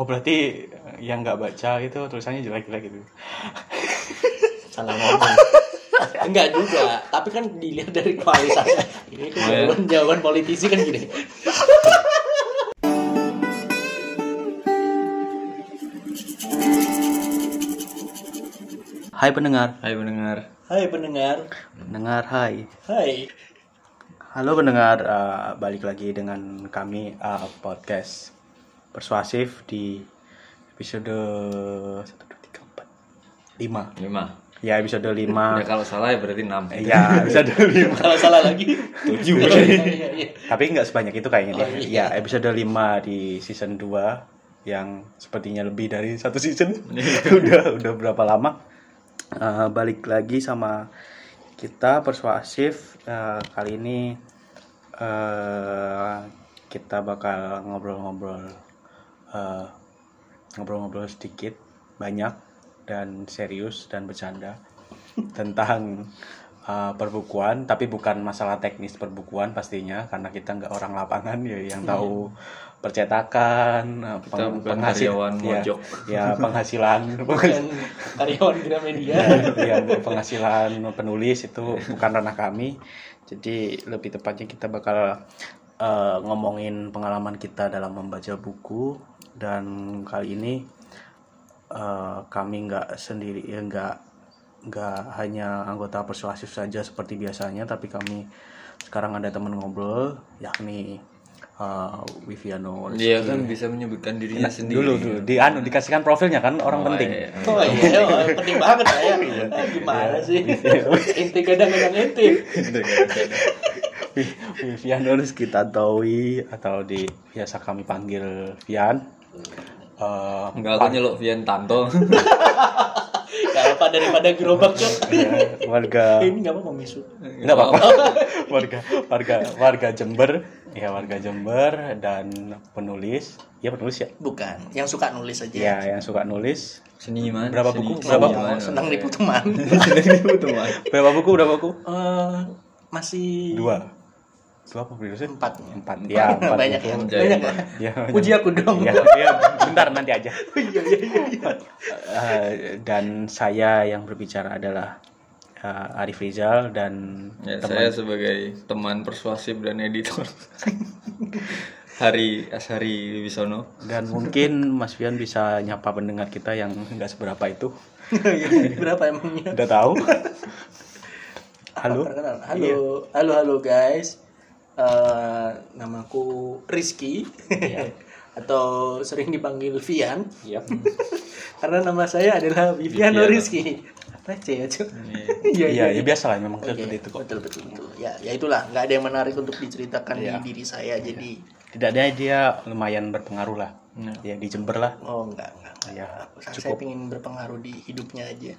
oh berarti yang nggak baca itu tulisannya jelek-jelek gitu salah ngomong enggak juga tapi kan dilihat dari kualitasnya ini kan Iya. jawaban jawaban politisi kan gini Hai pendengar Hai pendengar, hai pendengar pendengar hai hai halo pendengar eh, balik lagi dengan kami eh, podcast persuasif di episode satu dua tiga empat lima 5 ya episode lima Ya kalau salah ya berarti 6 ya episode lima kalau salah lagi Tujuh. Iya, iya, iya. Tapi nggak sebanyak itu kayaknya Oh, deh. iya. Ya, episode 5 di season 2 yang sepertinya lebih dari satu season. Iya. udah udah berapa lama? Eh, balik lagi sama kita persuasif Eh, kali ini eh kita bakal ngobrol-ngobrol eh, ngobrol-ngobrol sedikit banyak dan serius dan bercanda tentang uh, perbukuan tapi bukan masalah teknis perbukuan pastinya karena kita nggak orang lapangan ya yang tahu percetakan uh, Iya. Kita peng- bukan penghasil- karyawan ya, mojok ya penghasilan dan karyawan Gramedia ya, penghasilan penulis itu bukan ranah kami jadi lebih tepatnya kita bakal eh, ngomongin pengalaman kita dalam membaca buku dan kali ini eh, kami nggak sendiri ya, nggak nggak hanya anggota persuasif saja seperti biasanya tapi kami sekarang ada teman ngobrol yakni eh, Wiviano Dia kan bisa menyebutkan dirinya sendiri Iya. dulu dulu di anu dikasihkan profilnya kan orang Oh, penting iya, iya. Oh iya, wah, penting banget lah ya. Iya. Ah, Gimana sih? Inti kadang-kadang inti. Vian harus kita taui atau di biasa kami panggil Vian. Eh, Enggak aku nyeluk Vian Tanto Gak apa daripada gerobak cok. eh, warga Eh, Ini gak apa-apa misu. nggak apa-apa warga warga warga Jember ya warga Jember dan penulis ya penulis ya Bukan, yang suka nulis aja. ya yang suka nulis Seniman Berapa seni- buku? Berapa Oh, Gimana? seniman. senang nipu teman. Senang diputu, Mas. berapa buku berapa buku Eh, masih dua dua apa berapa sih? empat. empat ya empat banyak buku. ya, Empat. banyak ya. ya Uji aku dong. ya, ya, bentar nanti aja. Eh, dan saya yang berbicara adalah eh, Arif Rizal dan Ya, teman saya sebagai teman persuasif dan editor Hari Ashari Wisono dan mungkin Mas Fian bisa nyapa pendengar kita yang nggak seberapa itu Iya, Berapa emangnya? udah tahu. Halo. Iya. Perkenalan. Halo, halo, halo guys. Eh, namaku Rizky Iya. atau sering dipanggil Vian Yap. karena nama saya adalah Viviano Viviano. Rizky. Receh ya Cuk. Iya Iya, ya, biasa lah memang Oke, seperti itu kok. Betul betul betul. Ya, ya itulah nggak ada yang menarik untuk diceritakan Iya. di diri saya. Jadi Tidak ada dia lumayan berpengaruh lah. Ya di Jember lah. oh nggak nggak. nggak. Ya, Aku- saya, cukup. ingin berpengaruh di hidupnya aja.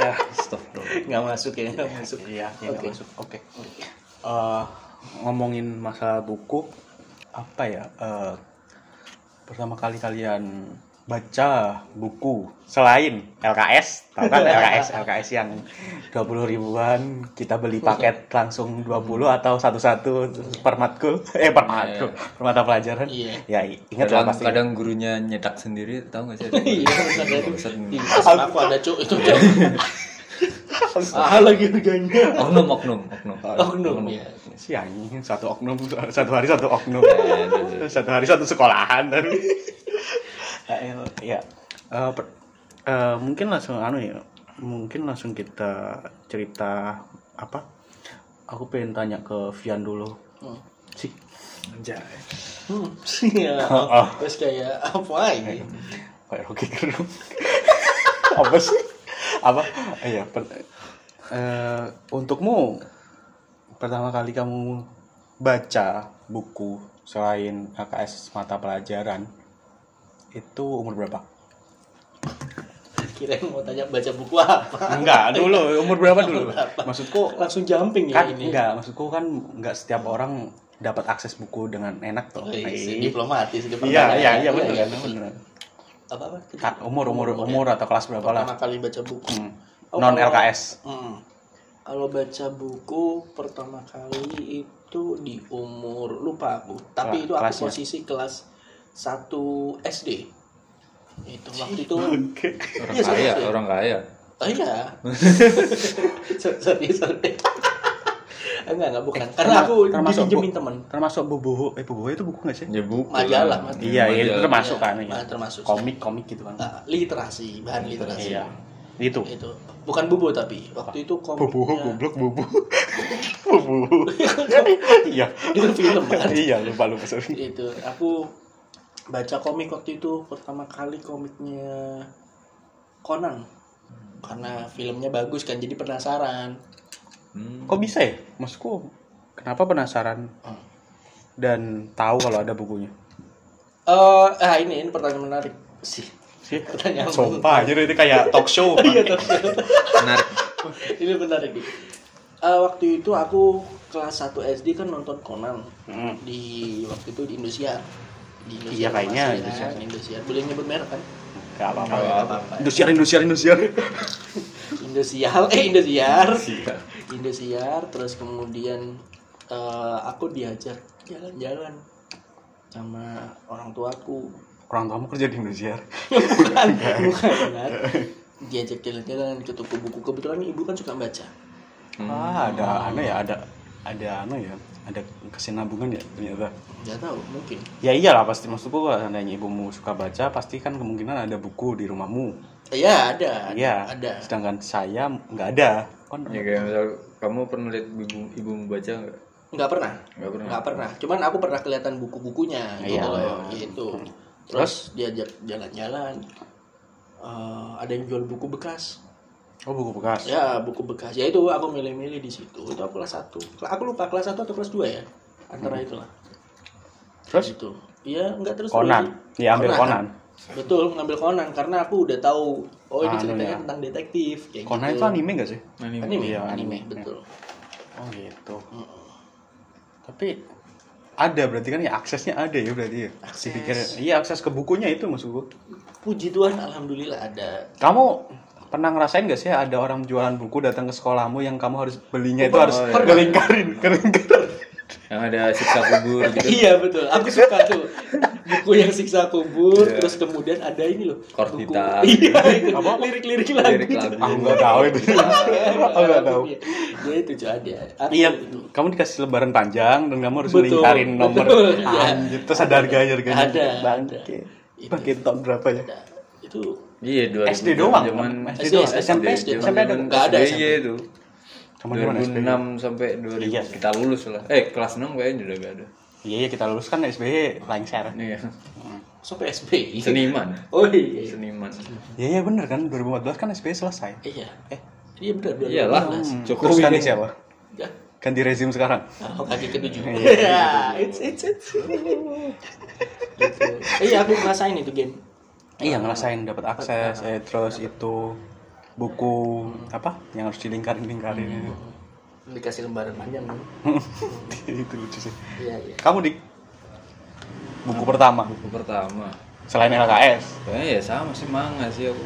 Ya, Stop bro Nggak masuk ya nggak masuk. Iya, ya, nggak Oke. masuk. Oke. Eh, ngomongin masalah buku, apa ya? eh, pertama kali kalian baca buku selain LKS, tahu kan LKS, LKS yang 20 ribuan kita beli paket langsung 20 Hmm. atau satu-satu per matkul, eh per matkul, per mata pelajaran. Iya. Ya, i- ingat lah kadang, pasti. kadang gurunya nyetak sendiri tahu nggak sih ada guru? Iya, bisa jadi. Bangsat. Di kelas aku ada cuk itu cuk. Mahal lagi harganya. oknum oknum oknum Oknum iya. ya. Si anjing, satu oknum, satu hari satu oknum. Ya, ya, ya. satu hari satu sekolahan tapi Ah, iya. ya Eh, per- eh, mungkin langsung anu ya mungkin langsung kita cerita apa aku pengen tanya ke Vian dulu Hmm. sih Hmm, iya. Oh. Terus kayak apa ini? kayak Rocky Gerung apa sih apa iya per- eh, untukmu pertama kali kamu baca buku selain AKS mata pelajaran itu umur berapa Kirain mau tanya baca buku apa? Enggak, dulu umur berapa dulu? Berapa? Maksudku Langsung jumping ya kan ini. enggak, maksudku kan enggak setiap orang dapat akses buku dengan enak toh. Oh, iya, sih, Eh, diplomatis Iya, iya, iya Kan, benar bener iya. kan. benar. Apa apa? Ka- Umur umur umur atau kelas berapa lah? Oh, Pertama kali baca buku. Hmm. Non LKS. Hmm. Kalau baca buku pertama kali itu di umur lupa aku, Wah, tapi itu aku kelasnya. posisi kelas 1 SD. Itu waktu itu Oke. Orang Iya, kaya, serius. orang kaya. Oh iya. sorry, sorry, sorry. enggak, enggak bukan. Karena Eh, terma- aku termasuk dipinjemin bu- teman. Termasuk boboho. Eh boboho itu buku nggak sih? Ya buku. Majalah, lah. Mas. Iya, iya, itu majalah. termasuk Iya, kan. iya. nah, termasuk. Komik-komik gitu kan. Nah, literasi, bahan literasi. Iya. Itu. Itu. Bukan bubu tapi waktu itu Boboho komiknya goblok bobo. bobo. Iya. itu film kan. Iya, lupa lupa sorry. itu Gitu. aku baca komik waktu itu pertama kali komiknya Conan karena filmnya bagus kan jadi penasaran Hmm. Kok bisa ya? Maksudku kenapa penasaran Hmm. dan tahu kalau ada bukunya? eh ah, ini ini pertanyaan menarik sih Sih. pertanyaan Sumpah, jadi itu kayak talk show. Iya, tapi- Menarik. ini menarik nih. Eh, waktu itu aku kelas 1 SD kan nonton Conan Hmm. di waktu itu di Indonesia di Iya, kayaknya masih, Indonesia. kan? Indonesia boleh nyebut merek kan Gak apa-apa. Nggak apa-apa. Indosiar, Indosiar, Indosiar. Indosiar eh Indosiar Iya. Indosiar terus kemudian eh, aku diajak jalan-jalan sama orang tuaku Orang tuamu kerja di Indosiar. bukan bukan benar diajak jalan-jalan ke toko buku kebetulan ibu kan suka baca Hmm. Ah, ada anu ya, ada ada anu ya, ada kesinambungan ya ternyata. nggak tahu mungkin Ya iyalah pasti maksudku kalau seandainya ibumu suka baca pasti kan kemungkinan ada buku di rumahmu. ya ada Iya. ada Sedangkan saya nggak ada. Kan Ya kayak misal kamu pernah lihat ibu ibu membaca nggak? nggak pernah Nggak pernah. nggak pernah cuman aku pernah kelihatan buku-bukunya gitu Iya. loh gitu terus diajak jalan-jalan Eh, ada yang jual buku bekas oh buku bekas. ya buku bekas ya itu aku milih-milih di situ itu aku kelas 1 aku lupa kelas 1 atau kelas 2 ya antara itulah Hmm. Terus itu iya nggak terus Conan, ya ambil Conan. betul ngambil Conan karena aku udah tahu oh ini Ah, ceritanya iya. tentang detektif kayak Conan gitu. itu anime nggak sih? Anime. anime Iya, anime, anime. betul Oh gitu. Mm-mm. Tapi ada berarti kan ya aksesnya ada ya berarti ya. Akses. Dipikir, iya akses ke bukunya itu maksudku. puji Tuhan alhamdulillah ada Kamu pernah ngerasain gak sih ada orang jualan buku datang ke sekolahmu yang kamu harus belinya Oh, itu harus iya. Pernah. kelingkarin, kelingkarin. Yang ada siksa kubur gitu. iya betul aku suka tuh buku yang siksa kubur Iya. terus kemudian ada ini loh Kortita. buku iya itu Apa? lirik-lirik lagu Lirik lagu. Aku nggak tahu itu. Aku Oh, nggak tahu. ya itu cuy ada Aku Iya, itu. kamu dikasih lebaran panjang dan kamu harus Betul, melingkarin nomor. betul, iya. Anjir, terus ada harganya, harganya. Ada, Bangke. ada. Bangke tahun berapa ya? Nah, itu Iya, 2000 SD doang, zaman kan? SD doang, SMP, SD, SMP ada nggak ada Iya itu. Cuman cuman SD. 2006 sampai 2000 Iya. kita lulus lah. Eh, kelas 6 kayaknya udah gak ada. Iya, iya kita lulus kan SBY lengser. Iya. sampai SBI Seniman. oh iya Seniman. Iya, iya bener kan 2014 kan SBY selesai. iya Eh. iya benar benar Ya. Iyalah, Hmm. Terus Jokowi. ganti Iya. siapa? Ganti rezim sekarang. Oh, kaki ketujuh. Iya, it's it's it's. Gitu. Iya, aku ngerasain itu game. Iya ngerasain dapat akses, eh, terus itu buku apa yang harus dilingkarin lingkarin itu. Dikasih lembaran panjang. kan? Hmm. itu lucu sih. Iya, iya. Kamu di buku pertama Buku pertama. selain LKS. Kayaknya ya sama sih manga sih aku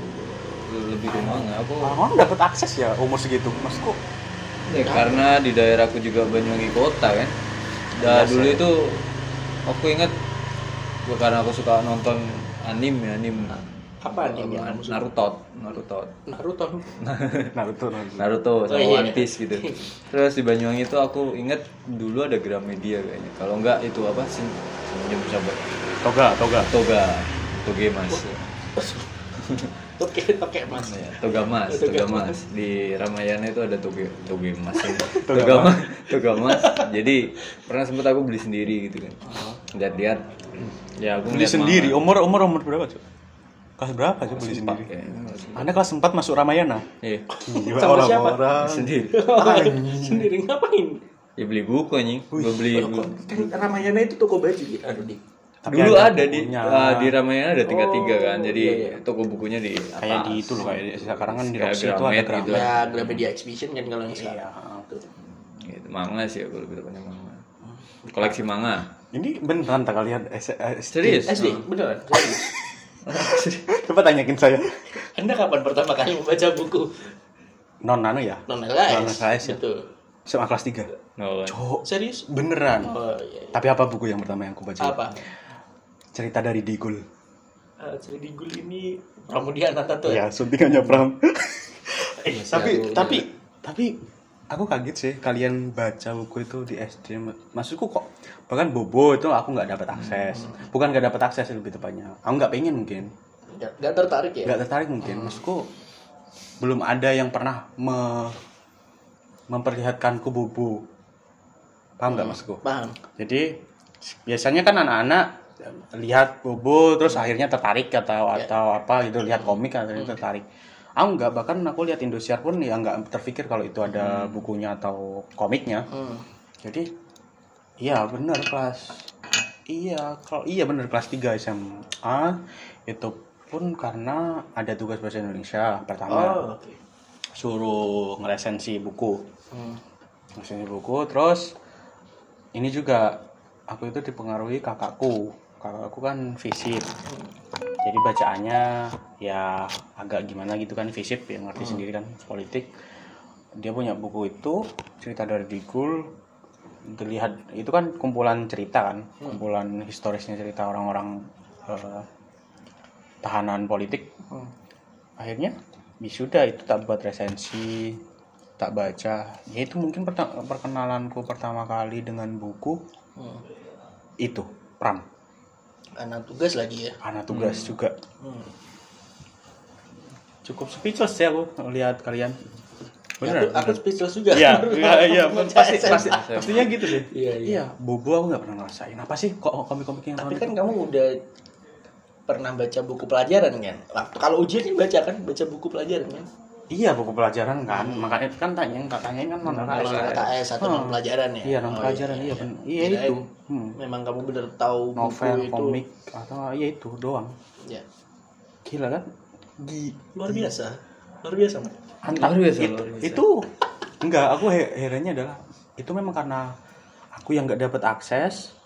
lebih ke manga aku Orang dapat akses ya umur segitu, maksudku. ya, karena di daerahku juga Banyuwangi kota kan. Iya, Dan dulu itu aku ingat karena aku suka nonton anime anime Apa anime yang kamu suka? Naruto Naruto Naruto. Naruto, Naruto. Naruto Oh, sama iya. One Piece gitu. Terus di Banyuwangi itu aku inget dulu ada Gramedia kayaknya. Kalau enggak itu apa sih? Senyum sahabat. Toga, toga. Toga, Toge Mas. Oke, oke, Mas. Ya, Toga Mas, Toga Toga Mas. Di Ramayana itu ada Toge Toge Mas. Toga Mas, Toga Mas. Jadi pernah sempat aku beli sendiri gitu kan. Lihat-lihat. Ya aku Uh-huh. Beli ngeliat sendiri. manga. Umur umur umur berapa, Cuk? Kelas berapa, Cuk, beli Sempat sendiri? kayaknya, sempat. Anda kelas 4 masuk Ramayana? Iya. Gila Sama siapa? orang-orang. Sendiri. Sendiri ngapain? Ya beli buku anjing. Iya, Gua beli buku. Kan Ramayana itu toko baju gitu. Aduh, Dik. Tapi dulu ada ada, di bukunya. Oh, ah, di Ramayana ada tiga tiga kan jadi iya, iya. toko bukunya di atas Kayak di itu loh, kayak di- sekarang kan di Kayak Roxy itu ada Gramet gitu. Gramet. Ya, Gramedia Exhibition kan kalau yang sekarang. Tuh. gitu. manga sih aku lebih tepatnya manga koleksi manga Ini beneran tak kalian S- eh, serius SD, beneran. Serius. Coba tanyakin saya. Anda kapan pertama kali membaca buku? non nano ya non Non LKS, LKS ya. betul SMA kelas 3 No. Cok, serius beneran oh iya tapi apa buku yang pertama yang aku baca apa cerita dari Digul Eh, Cerdi Gul ini Pramudiana satu ya ya suntingannya Pram Eh, tapi Ya, tapi tapi aku kaget sih kalian baca buku itu di SD maksudku kok bahkan bobo itu aku nggak dapat akses Hmm. bukan nggak dapat akses lebih tepatnya aku nggak pengen mungkin nggak nggak tertarik ya nggak tertarik mungkin maksudku belum ada yang pernah me- memperlihatkanku bobo paham nggak maksudku paham jadi biasanya kan anak-anak lihat bobo terus akhirnya tertarik atau Ya. atau apa gitu lihat komik akhirnya tertarik. Aku nggak bahkan aku lihat Indosiar pun ya nggak terpikir kalau itu ada bukunya atau komiknya. hmm. Jadi iya bener kelas iya kalau iya bener kelas 3 SMA itu pun karena ada tugas bahasa Indonesia pertama oh oke suruh ngelesensi buku Hmm. mesin buku terus ini juga aku itu dipengaruhi kakakku kakakku kan fisip jadi bacaannya ya agak gimana gitu kan fisip yang ngerti sendiri kan politik dia punya buku itu cerita dari Digul dilihat itu kan kumpulan cerita kan kumpulan historisnya cerita orang-orang eh, tahanan politik Hmm. akhirnya ya sudah itu tak buat resensi tak baca ya itu mungkin perta- perkenalanku pertama kali dengan buku Hmm. itu pram karena tugas lagi ya karena tugas juga hmm. cukup speechless ya aku lihat kalian aku, bener aku speechless juga iya iya iya pasti SMA. pasti pastinya gitu deh iya iya iya bobo aku nggak pernah ngerasain apa sih kok komik-komik yang gitu? tapi soal kan itu? kamu udah pernah baca buku pelajaran kan Waktu- kalau ujian kan baca kan baca buku pelajaran kan iya buku pelajaran kan makanya kan tanya yang tak tanyain kan non kalau KKS atau non pelajaran ya iya non Oh, pelajaran iya bener. iya Kirain itu Hmm. memang kamu bener tahu buku novel itu komik atau ya itu doang ya gila kan Gi- luar biasa luar biasa Mat. Antap. Luar biasa, itu, luar biasa. itu enggak aku he- herannya adalah itu memang karena aku yang nggak dapat akses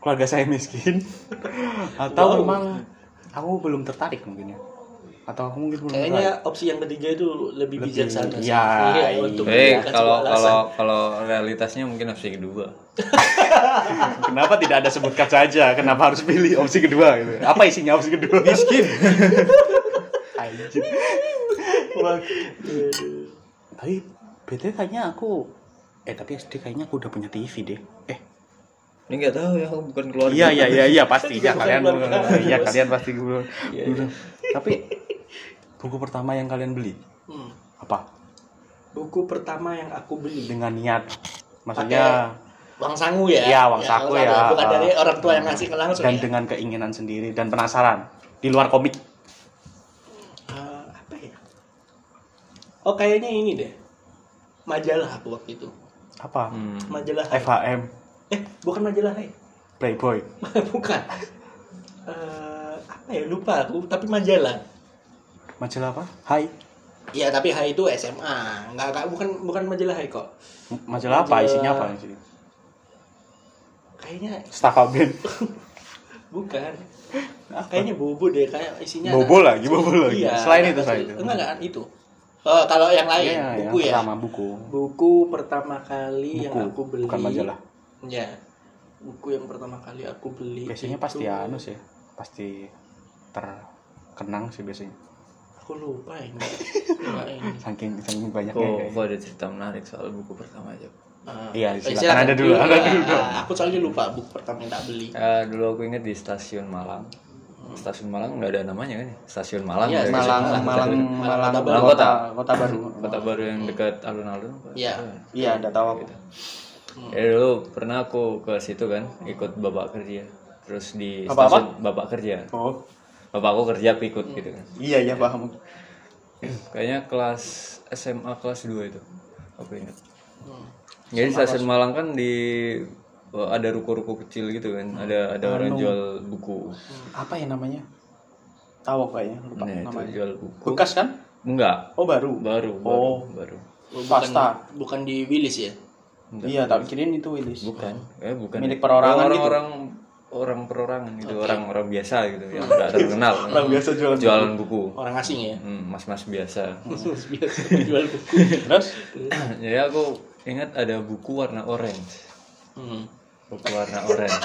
keluarga saya miskin atau Wow. memang aku belum tertarik mungkin ya atau aku mungkin belum tertarik kayaknya opsi yang ketiga itu Hmm, lebih, Lebih- bijaksana sih. ya, Iya, iya. untuk Eh, menggunakan kalau sebuah alasan. kalau kalau realitasnya mungkin opsi kedua. kenapa tidak ada sebutkan saja kenapa harus pilih opsi kedua gitu apa isinya opsi kedua miskin Wah, iya, iya. tapi BTW kayaknya aku eh tapi SD kayaknya aku udah punya TV deh eh Ini nggak tahu ya, aku bukan keluarga. Iya iya iya iya pasti Juga ya kalian bukan keluarga. iya kalian pasti guru. Iya, Tapi buku pertama yang kalian beli Hmm. apa? buku pertama yang aku beli Dengan niat maksudnya Wang Sangu ya Ah. Iya, Wang Sangu ya. bukan kan dari orang tua yang ngasih ke langsung dan ya. dengan keinginan sendiri dan penasaran di luar komik. Eh, apa ya oh kayaknya ini deh majalah aku waktu itu Apa? Hmm. majalah Hai. FHM eh bukan majalah Hai. Playboy. bukan Eh, apa ya lupa aku tapi majalah Majalah apa? Hai. Iya tapi Hai itu SMA nggak nggak bukan bukan majalah Hai kok M- Majalah apa? Majalah- Isinya apa? Isinya? kayaknya Staffa band. bukan kayaknya bobo deh kayak isinya Iya, Bobo lagi, bobo lagi. Selain itu, selain itu. enggak enggak itu Eh, kalau yang lain Iya, yang buku ya pertama buku. buku pertama kali yang Buku, aku beli bukan majalah. ya buku yang pertama kali aku beli Biasanya itu- pasti anu sih, pasti terkenang sih biasanya. aku lupa ini Lupa ini. Saking saking banyaknya. Oh. Kok, kayak- kok Oh, ada cerita menarik soal buku pertama aja. Eh, Iya, eh, silakan. silakan. Ada dulu, ada dulu. Ah, aku soalnya lupa buku pertama yang tak beli Eh, dulu aku inget di stasiun Malang. Stasiun Malang nggak ada namanya kan? ya? Stasiun Malang. Iya, ya, Malang, stasiun Malang, Malang, Malang Malang kota, kota baru. Kota Gitu. baru yang dekat alun-alun. apa? Iya. Iya, ada tahu aku. Ya dulu pernah aku ke situ kan, ikut bapak kerja. Terus di Apa-apa? stasiun bapak kerja. Oh, Bapakku kerja aku ikut gitu kan. iya iya paham. Kayaknya kelas SMA kelas 2 itu. Aku ingat. Hmm. Jadi stasiun Malang kan di eh, ada ruko-ruko kecil gitu kan. Ada ada Anu. orang jual buku. Apa ya namanya? Tahu aku kayaknya, lupa Nah, itu namanya. jual buku. Bekas kan? Enggak, Oh, baru. baru baru Oh. baru. bukan Pasta. bukan di Willis ya Iya, tak kirain itu Willis. Bukan. Eh bukan. Milik perorangan gitu? orang-orang orang perorangan gitu orang-orang biasa gitu yang nggak terkenal Orang biasa jualan buku. jualan buku orang asing ya Hmm, mas-mas biasa biasa jual buku terus jadi aku ingat ada buku warna orange hmm. buku warna orange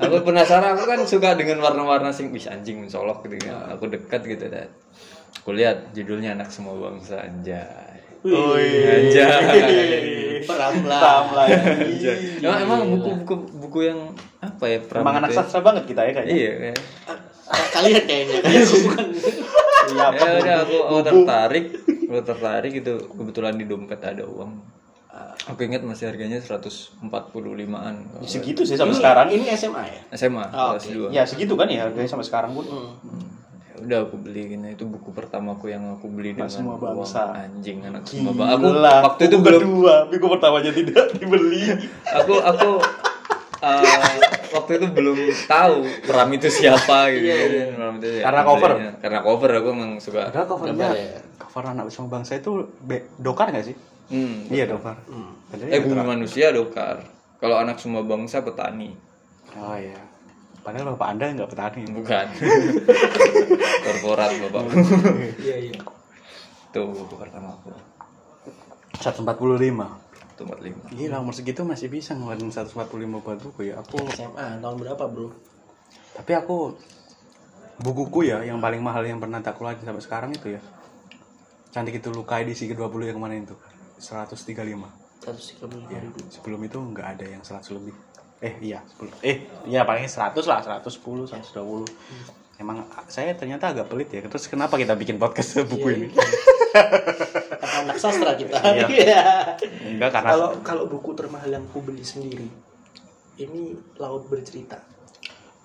aku penasaran aku kan suka dengan warna-warna sing wis anjing mencolok gitu kan. Ah. aku dekat gitu dan aku lihat judulnya anak semua bangsa anjay anjay peram Paham lah ya. lagi. emang, emang buku-buku buku yang apa ya peram Emang gitu anak ya? sastra banget kita ya kayaknya. iya kayak Ah, kalian kayaknya kalian bukan Iya. ya udah aku, aku tertarik aku tertarik gitu kebetulan di dompet ada uang Ah. aku ingat masih harganya 145an Segitu sih sampai sekarang. ini SMA ya SMA Oh, kelas oke. 2 Ya segitu kan ya harganya sampai sekarang pun. hmm. Ya udah aku beli gini itu buku pertamaku yang aku beli dengan Anak semua uang bangsa. anjing anak semua Gila, bangsa aku waktu itu belum kedua, minggu pertamanya tidak dibeli. aku aku eh, waktu itu belum tahu peram itu siapa gitu kan. Peram itu siapa. Karena cover? Belinya- karena cover aku emang suka Padahal covernya, Gambar ya. cover anak usaha bangsa itu be- dokar nggak sih? hmm. Iya dokar. Padahal ya eh bumi dokar. manusia dokar kalau anak semua bangsa petani Oh iya. Padahal bapak anda nggak petani. bukan korporat bapak iya iya tuh buku pertama aku 145. tuh empat lima Gila umur segitu masih bisa ngeluarin 145 buat buku ya. Aku SMA tahun berapa bro tapi aku bukuku ya yang paling mahal yang pernah tak keluarin sampai sekarang itu ya. Cantik itu lukai di si ke-20 yang kemarin itu. 135. 135 Ya, sebelum itu nggak ada yang 100 lebih. Eh iya, 10. Eh iya paling 100 lah, 110, 120. Emang a- saya ternyata agak pelit ya. Terus kenapa kita bikin podcast buku ini? Karena Iya, anak sastra kita Iya. Iya. Enggak karena kalau kalau buku termahal yang aku beli sendiri ini laut bercerita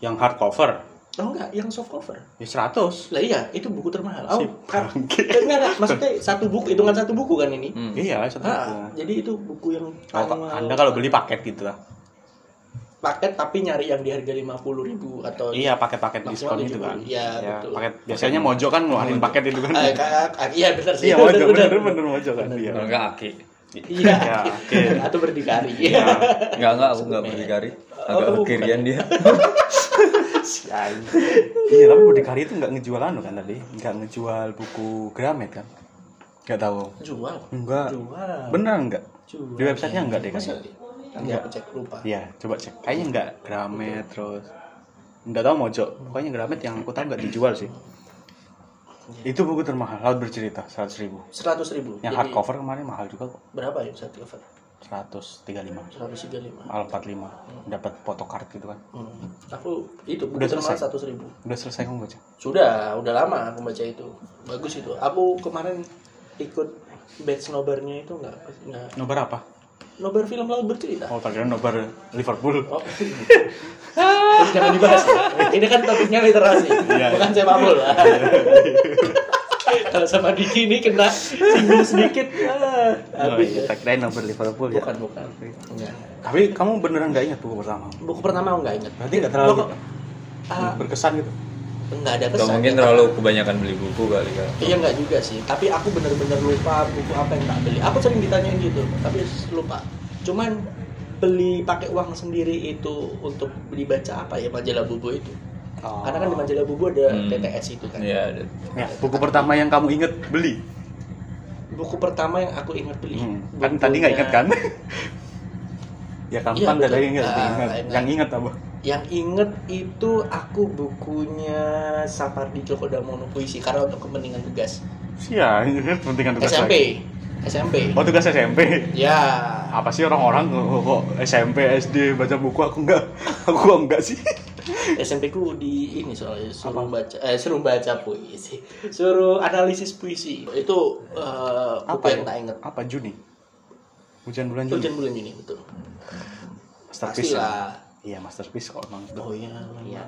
yang hardcover oh enggak yang soft cover ya 100. lah iya itu buku termahal oh Si kan bangke. enggak enggak maksudnya satu buku hitungan satu buku kan ini Hmm. Iya, satu buku. Ah, jadi itu buku yang Oh, paling mahal. anda kalau beli paket gitu lah. paket tapi nyari yang di harga lima puluh ribu atau Iya, paket-paket Maksimal diskon itu 70. kan. Iya, betul. paket biasanya Mojo kan ngeluarin paket itu kan. Ah, ka- ah, iya benar sih Iya, Mojo bener bener Mojo kan. Iya. kalau enggak aki iya Ya, oke. atau berdikari Iya. enggak enggak aku enggak berdikari agak Oh, bukan. kekirian dia Iya, tapi Berdikari itu nggak ngejual anu kan tadi, nggak ngejual buku Gramet kan? Nggak tahu. jual Enggak. jual Bener enggak? Jual. Di websitenya enggak deh Masa? kayaknya. enggak cek lupa Iya, coba cek. Kayaknya enggak Gramet terus. Enggak tahu Mojo. Pokoknya Gramet yang aku tahu enggak dijual sih. Iya. Itu buku termahal, Laut Bercerita, 100 ribu. seratus ribu Yang Jadi, hardcover kemarin mahal juga kok, berapa ya satu cover 135. seratus tiga lima Al 45 dapat photocard gitu kan. Hmm. Aku itu buku Udah termahal selesai? seratus ribu. Udah selesai kamu baca? Sudah, udah lama aku baca itu. Bagus itu. Aku kemarin ikut batch nobarnya itu nggak nggak Nobar apa? nobar film laut bercerita. Oh, tadi nobar Liverpool. Oh. Terus jangan dibahas. ya. Ini kan topiknya literasi, bukan sepak bola. Kalau sama Diki ini kena singgung sedikit. Ah, Oh, habis ya. iya, tak kirain nobar Liverpool ya. Bukan bukan. Enggak. Tapi kamu beneran nggak ingat buku pertama? Buku pertama aku nggak ingat. Berarti nggak terlalu Loh, kok- Ah, berkesan gitu. nggak ada Gak kesan. mungkin terlalu kebanyakan beli buku kali kan. Iya nggak juga sih, tapi aku bener-bener lupa buku apa yang tak beli. Aku sering ditanyain gitu, tapi lupa. Cuman beli pakai uang sendiri itu untuk beli baca apa ya majalah Bobo itu. Oh. Karena kan di majalah Bobo ada Hmm. TTS itu kan. Iya, ada. Ya, buku pertama yang kamu inget beli. Buku pertama yang aku ingat beli. Hmm, Kan tadi nggak inget kan? ya kamu Iya, kan udah betul. tadi inget, Ah, inget. ingat. Yang inget apa? Yang inget itu aku bukunya Sapardi Djoko Damono puisi karena untuk kepentingan tugas. Iya, inget pentingan tugas lagi. SMP, SMP. Oh tugas SMP. Ya. Apa sih orang-orang "Oh, kok kok SMP, SD baca buku aku nggak, aku kok nggak sih? SMP ku di ini soalnya suruh baca eh, suruh baca puisi suruh analisis puisi itu eh, buku yang tak inget Apa Juni? Hujan bulan Juni. hujan bulan Juni betul masterpiece. ya? Pastilah. Iya masterpiece kok emang. oh iya iya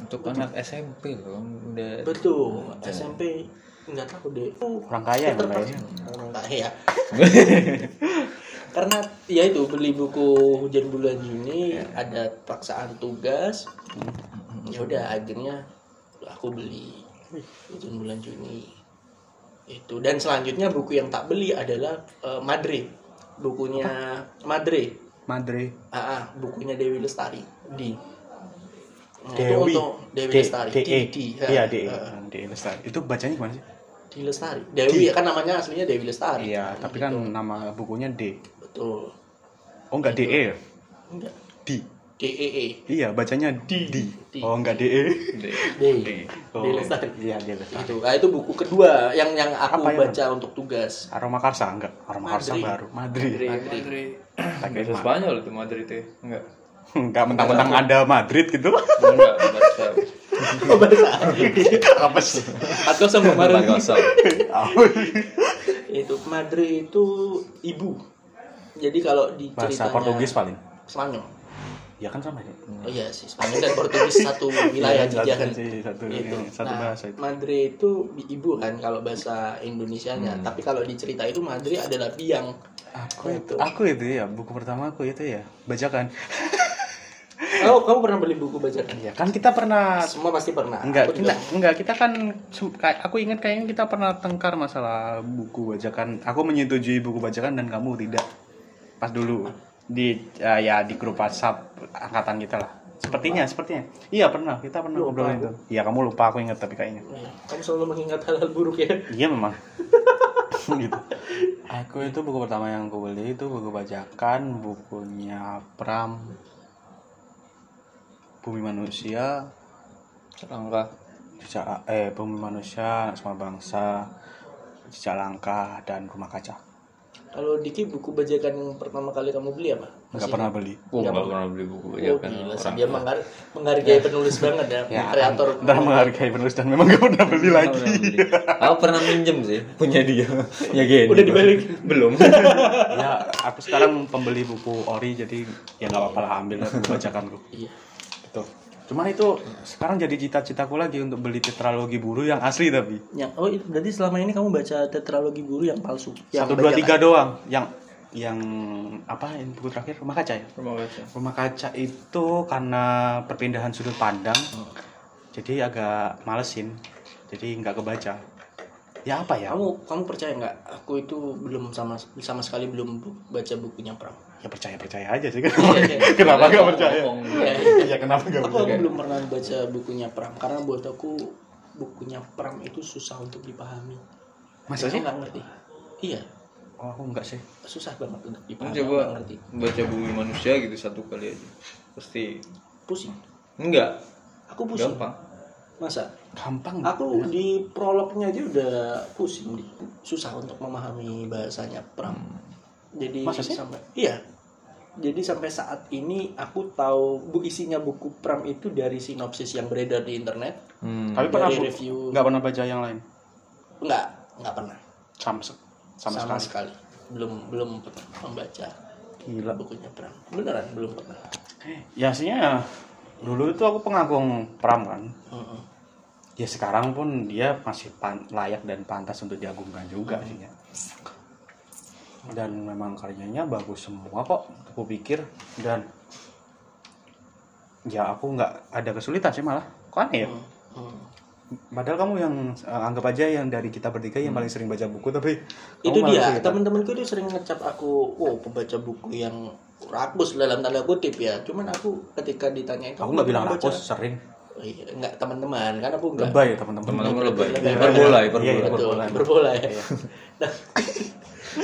Untuk anak SMP loh, udah betul SMP nggak tahu deh Oh, Orang kaya emang tertarik. kayaknya. orang kaya karena ya itu beli buku hujan bulan Juni ada paksaan tugas ya udah akhirnya aku beli hujan bulan Juni itu dan selanjutnya buku yang tak beli adalah eh, Madre bukunya Madre Madre Ah, ah, bukunya Dewi Lestari di Nah, itu Dewi untuk E Dewi D- Lestari DE. D- D, ah, iya DE ah. DE Lestari itu bacanya gimana sih Dewi Lestari Dewi kan namanya aslinya Dewi Lestari Nah, gitu. iya tapi kan nama bukunya D betul oh enggak DE ya? enggak D D E E iya bacanya D D D. oh enggak DE D oh, Dewi Lestari iya D Lestari itu nah, itu buku kedua yang yang Apa aku ya, baca untuk tugas Aroma Karsa enggak Aroma Karsa Madri. baru Madrid Madrid. Bahasa Spanyol itu Madrid ya? Enggak. enggak mentang-mentang ada Madrid gitu Enggak, bahasa Oh, bahasa. apa sih Atau sama Kemarin Madrid. kosong. Itu Madrid itu ibu. Jadi kalau di bahasa ceritanya- Portugis paling Spanyol. ya kan sama ya Oh iya sih, Spanyol dan Portugis satu wilayah Iya, jadi satu- kan. satu- iya, Gitu. satu Nah, bahasa itu. Madrid itu i- ibu kan kalau bahasa Hmm. Indonesianya. Tapi kalau di cerita itu Madrid adalah biang. aku Oh, itu itu. aku itu ya buku pertama aku itu ya bacakan Oh, kamu pernah beli buku bacaan? ya kan kita pernah Semua pasti pernah. enggak Aku kita juga. enggak kita kan sem- kayak- aku ingat kayaknya kita pernah tengkar masalah buku bajakan aku menyetujui buku bajakan dan kamu tidak pas dulu di eh, ya di grup WhatsApp angkatan kita lah sepertinya sepertinya iya pernah kita pernah Lupa ngobrolin aku. itu iya kamu lupa aku ingat tapi kayaknya Iya, Kamu selalu mengingat hal-hal buruk ya. Iya memang. gitu. Aku itu buku pertama yang aku beli itu buku bajakan bukunya Pram Bumi Manusia Langkah. Jejak eh Bumi Manusia Anak Semua Bangsa Jejak Langkah dan Rumah Kaca. Kalau Diki buku bajakan yang pertama kali kamu beli apa? Enggak Masih pernah beli. Gua enggak pernah beli buku Oh, ya kan. gila, orang- dia menghargai, menghargai penulis banget ya, kreator. Ntar menghargai penulis dan memang gak pernah beli Aku lagi. pernah beli. Aku pernah minjem sih punya dia. ya gini. Udah dibalik. Belum. ya, aku sekarang pembeli buku ori jadi ya nggak apa-apa lah ambil lah buku bajakanku. Iya. Gitu. Cuman itu sekarang jadi cita-citaku lagi untuk beli tetralogi buru yang asli tapi. Yang oh itu berarti selama ini kamu baca tetralogi guru yang palsu. Yang satu dua bajakan. tiga doang yang yang apa yang buku terakhir rumah kaca ya Rumah kaca. rumah kaca itu karena perpindahan sudut pandang jadi agak malesin jadi nggak kebaca ya apa ya Kamu kamu percaya nggak? Aku itu belum sama sama sekali belum bu- baca bukunya Pram. ya percaya percaya aja sih iya. kenapa nggak percaya Ngomong. ya kenapa nggak Aku, percaya aku belum pernah baca bukunya Pram karena buat aku bukunya Pram itu susah untuk dipahami. masa sih Aku nggak ngerti. Iya, oh, aku nggak sih susah banget untuk Kamu dipahami. coba Coba. ngerti. baca bumi manusia gitu satu kali aja. Pasti Pusing. enggak. Aku pusing. Gampang. Masa? gampang Aku di prolognya aja udah pusing, Di. susah untuk memahami bahasanya Pram. Jadi Masa sih? sampai iya. Jadi sampai saat ini aku tahu bu isinya buku Pram itu dari sinopsis yang beredar di internet, Hmm. tapi pernah dari bu- review. nggak pernah baca yang lain Enggak, enggak pernah. sama se- sama, Sama, sekali sekali. Belum belum pernah membaca gila bukunya Pram. Beneran belum pernah. ya aslinya dulu itu aku pengagum pram kan Heeh. ya sekarang pun dia masih pan- layak dan pantas untuk diagungkan juga Hmm. artinya dan memang karyanya bagus semua kok aku pikir dan ya aku nggak ada kesulitan sih malah kok aneh ya Hmm. Heeh. padahal kamu yang eh, anggap aja yang dari kita bertiga yang paling sering baca buku tapi kamu Hmm. itu malah dia kesulitan. teman-temanku itu sering ngecap aku wow pembaca buku yang rakus dalam tanda kutip ya cuman aku ketika ditanyain aku "Kamu nggak bilang pernah baca?" rakus sering Oh iya, nggak teman-teman kan aku nggak lebay ya teman-teman Teman-teman lebay. Lebay. Perbola, Iya, perbola. iya. betul Berbola. berbola ya nah,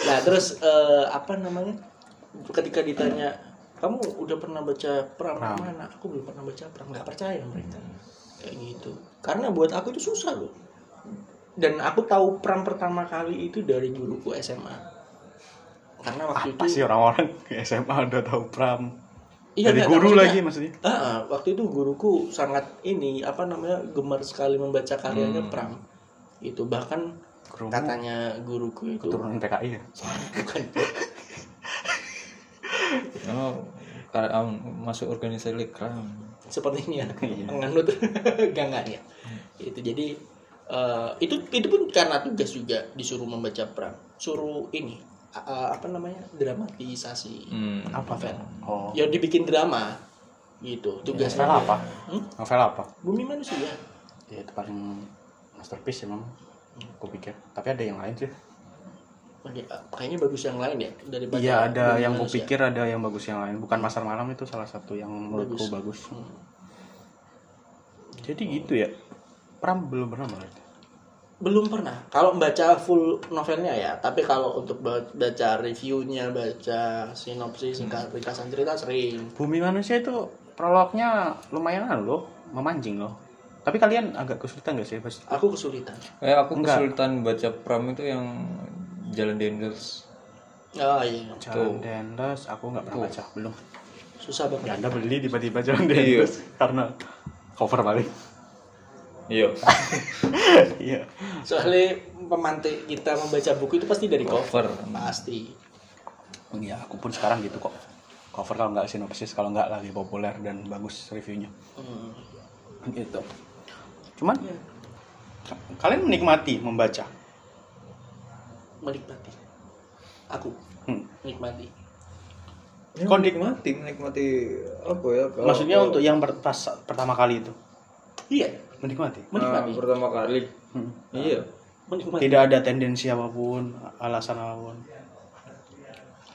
nah, terus eh, apa namanya ketika ditanya kamu udah pernah baca pram Pram. Hmm. mana aku belum pernah baca pram nggak percaya mereka kayak gitu karena buat aku itu susah loh dan aku tahu pram pertama kali itu dari guruku SMA karena apa waktu itu sih orang-orang SMA udah tahu pram Iya, dari nggak, guru maksudnya- lagi maksudnya Ah, ah, waktu itu guruku sangat ini apa namanya gemar sekali membaca Hmm. karyanya Pram. Itu bahkan Gurumu katanya guruku itu turunan PKI ya bukan Oh, kar- um, masuk organisasi lekram. sepertinya ya. Iya. menganut gangannya. Itu jadi eh, itu itu pun karena tugas juga disuruh membaca Pram, suruh ini a- a- apa namanya dramatisasi. Hmm. apa Novel. oh Ya dibikin drama gitu tugasnya. Iya. novel apa Hmm? novel apa Bumi manusia. ya itu paling masterpiece ya memang aku pikir tapi ada yang lain sih Oh, dia- kayaknya bagus yang lain ya daripada Iya ada Bumi yang Manusia. kupikir ada yang bagus yang lain. Bukan pasar malam itu salah satu yang menurutku bagus. Hmm. Jadi gitu ya. Pram belum pernah melihat. belum pernah kalau membaca full novelnya ya tapi kalau untuk ba- baca reviewnya baca sinopsis Hmm. singkat ringkasan cerita sering Bumi manusia itu prolognya lumayan anu loh, memancing loh. Tapi kalian agak kesulitan gak sih pas? aku kesulitan Kayak Eh, aku Enggak. kesulitan baca pram itu yang jalan dendels. oh iya Jalan Dendels, aku nggak pernah baca belum. susah Ya, banget anda beli tiba-tiba Jalan Dendels karena Iya. cover paling. Iya. Iya. soalnya pemantik kita membaca buku itu pasti dari cover Cover. pasti Iya, aku pun sekarang gitu kok. Cover kalau nggak sinopsis, kalau nggak lagi populer dan bagus reviewnya. Hmm. Gitu. Cuman ka- kalian menikmati membaca. menikmati aku Hmm. menikmati Ya, Kon- nikmati, nikmati apa ya? Oh, kalau- Maksudnya kalau- untuk yang per- pas pertama kali itu iya menikmati. menikmati Ah, pertama kali. Hmm. Iya. menikmati Tidak ada tendensi apapun, alasan apapun.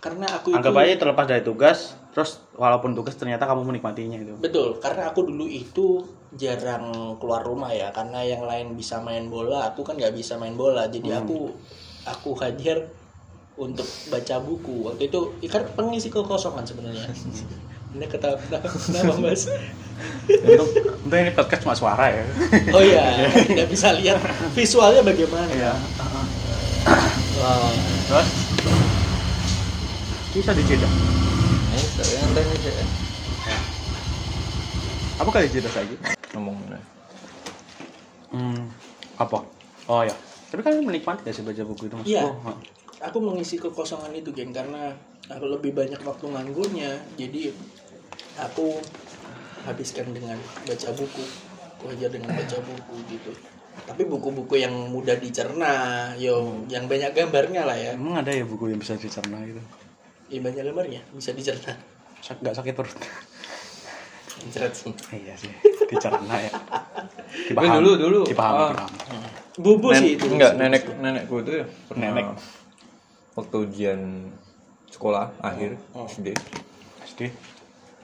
karena aku itu Anggap aja terlepas dari tugas, terus walaupun tugas ternyata kamu menikmatinya gitu. Betul, karena aku dulu itu jarang keluar rumah ya, karena yang lain bisa main bola, aku kan nggak bisa main bola, jadi aku aku hadir untuk baca buku. Waktu itu ikan pengisi kekosongan sebenarnya. Anda ketawa kenapa, kenapa, mas? Untuk, untuk ini podcast cuma suara ya. Oh iya, nggak bisa lihat visualnya bagaimana. Iya. Wah, Terus bisa dicedak. Ayo, saya tanya aja. Apa kali dicedak lagi? Ngomong dulu. Hmm, apa? Oh ya. Tapi kan menikmati gak sih baca buku itu? Mas? Iya. Oh, aku mengisi kekosongan itu gen karena aku lebih banyak waktu nganggurnya, jadi aku habiskan dengan baca buku aku aja dengan baca buku gitu tapi buku-buku yang mudah dicerna yo yang banyak gambarnya lah ya Emang ada ya buku yang bisa dicerna gitu? ya banyak gambarnya bisa dicerna Sak gak sakit perut? Mencret sih iya sih, dicerna ya. Tapi dulu, dulu. Dipahami, Ah. dipahami. bubu Nen- sih itu enggak nenek nenekku itu ya pernah Nenek. waktu ujian sekolah akhir Oh, SD Pasti.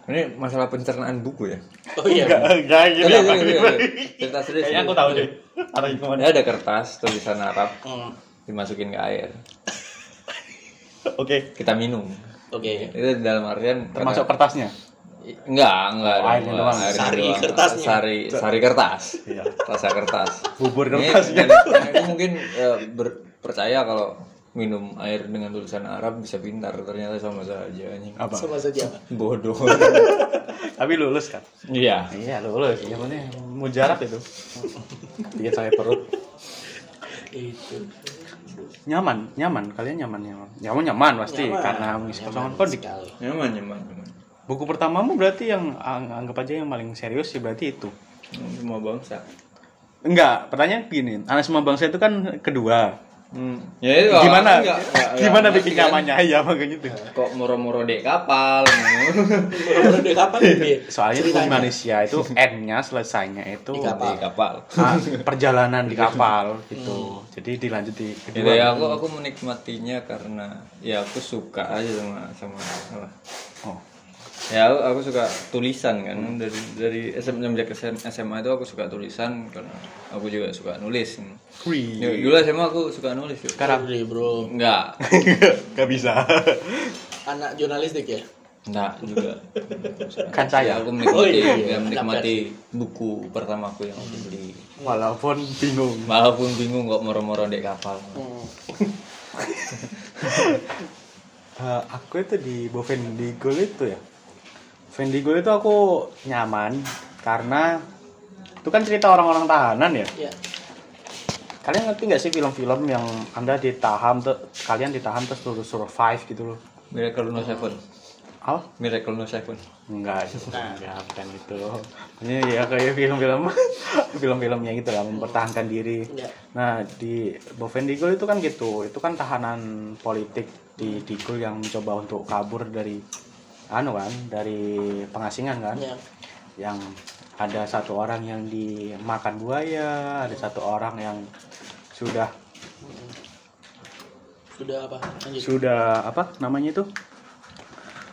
ini masalah pencernaan buku ya oh iya Gak, gak gitu. Serius, serius, serius. cerita serius Kayaknya aku serius. tahu deh. Arahnya kemana? Ini ada kertas tulisan Arab Hmm, dimasukin ke air Oke. kita minum oke itu dalam artian Termasuk karena- kertasnya. enggak enggak Oh, airnya doang. Sari doang. kertasnya. sari sari kertas Iya. rasa kertas Bubur Ini- kertasnya. ini- ini aku mungkin eh, ber- percaya kalau minum air dengan tulisan Arab bisa pintar ternyata sama saja anjing. Apa? sama saja apa? bodoh Tapi lulus kan? iya Iya lulus. Yang penting mujarab itu. Bikin sakit perut. itu Nyaman, nyaman. Kalian nyaman, nyaman. Nyaman, nyaman pasti. Nyaman. Karena mengisi kosongan Nyaman kok di- sekali nyaman nyaman nyaman Buku pertamamu berarti yang ang- anggap aja yang paling serius sih berarti itu. Hmm, semua bangsa Enggak, pertanyaan gini. Anak semua bangsa itu kan kedua. hmm. ya itu gimana? enggak, enggak, enggak. gimana bikin Kan nyamannya? Ya makanya itu. kok moro-moro dek kapal Baru-baru deh, kapan nih Soalnya di Malaysia itu N-nya selesainya itu Di kapal. dek kapal ah, perjalanan di kapal gitu. Jadi dilanjut di kedua. Gitu ya aku aku menikmatinya karena ya aku suka aja sama sama apa Oh. ya aku, aku suka tulisan kan Hmm. dari dari SM, semenjak SM SMA itu aku suka tulisan karena aku juga suka nulis Iya. Wih. dulu SMA aku suka nulis yuk. sekarang deh bro enggak Gak bisa. anak jurnalistik ya enggak juga Kan ya saya aku menikmati Oh, iya, iya. ya, menikmati buku pertamaku yang aku beli walaupun bingung. walaupun bingung kok moro-moro dek kapal Hmm. Eh, aku itu di Bovendigul itu ya. Vendigul itu aku nyaman karena itu kan cerita orang-orang tahanan ya. ya Kalian ngerti nggak sih film-film yang Anda ditahan tuh kalian ditahan terus terus survive gitu loh. Miracle No Seven Al? Miracle No Seven Enggak, enggak bukan itu. Ini ya kayak film-film film-film yang gitu lah mempertahankan diri. ya Nah, di Bovendigul itu kan gitu. Itu kan tahanan politik di Digul yang mencoba untuk kabur dari anu kan, dari pengasingan kan. ya Yang ada satu orang yang dimakan buaya, ada satu orang yang sudah Sudah apa? Lanjut. sudah apa namanya itu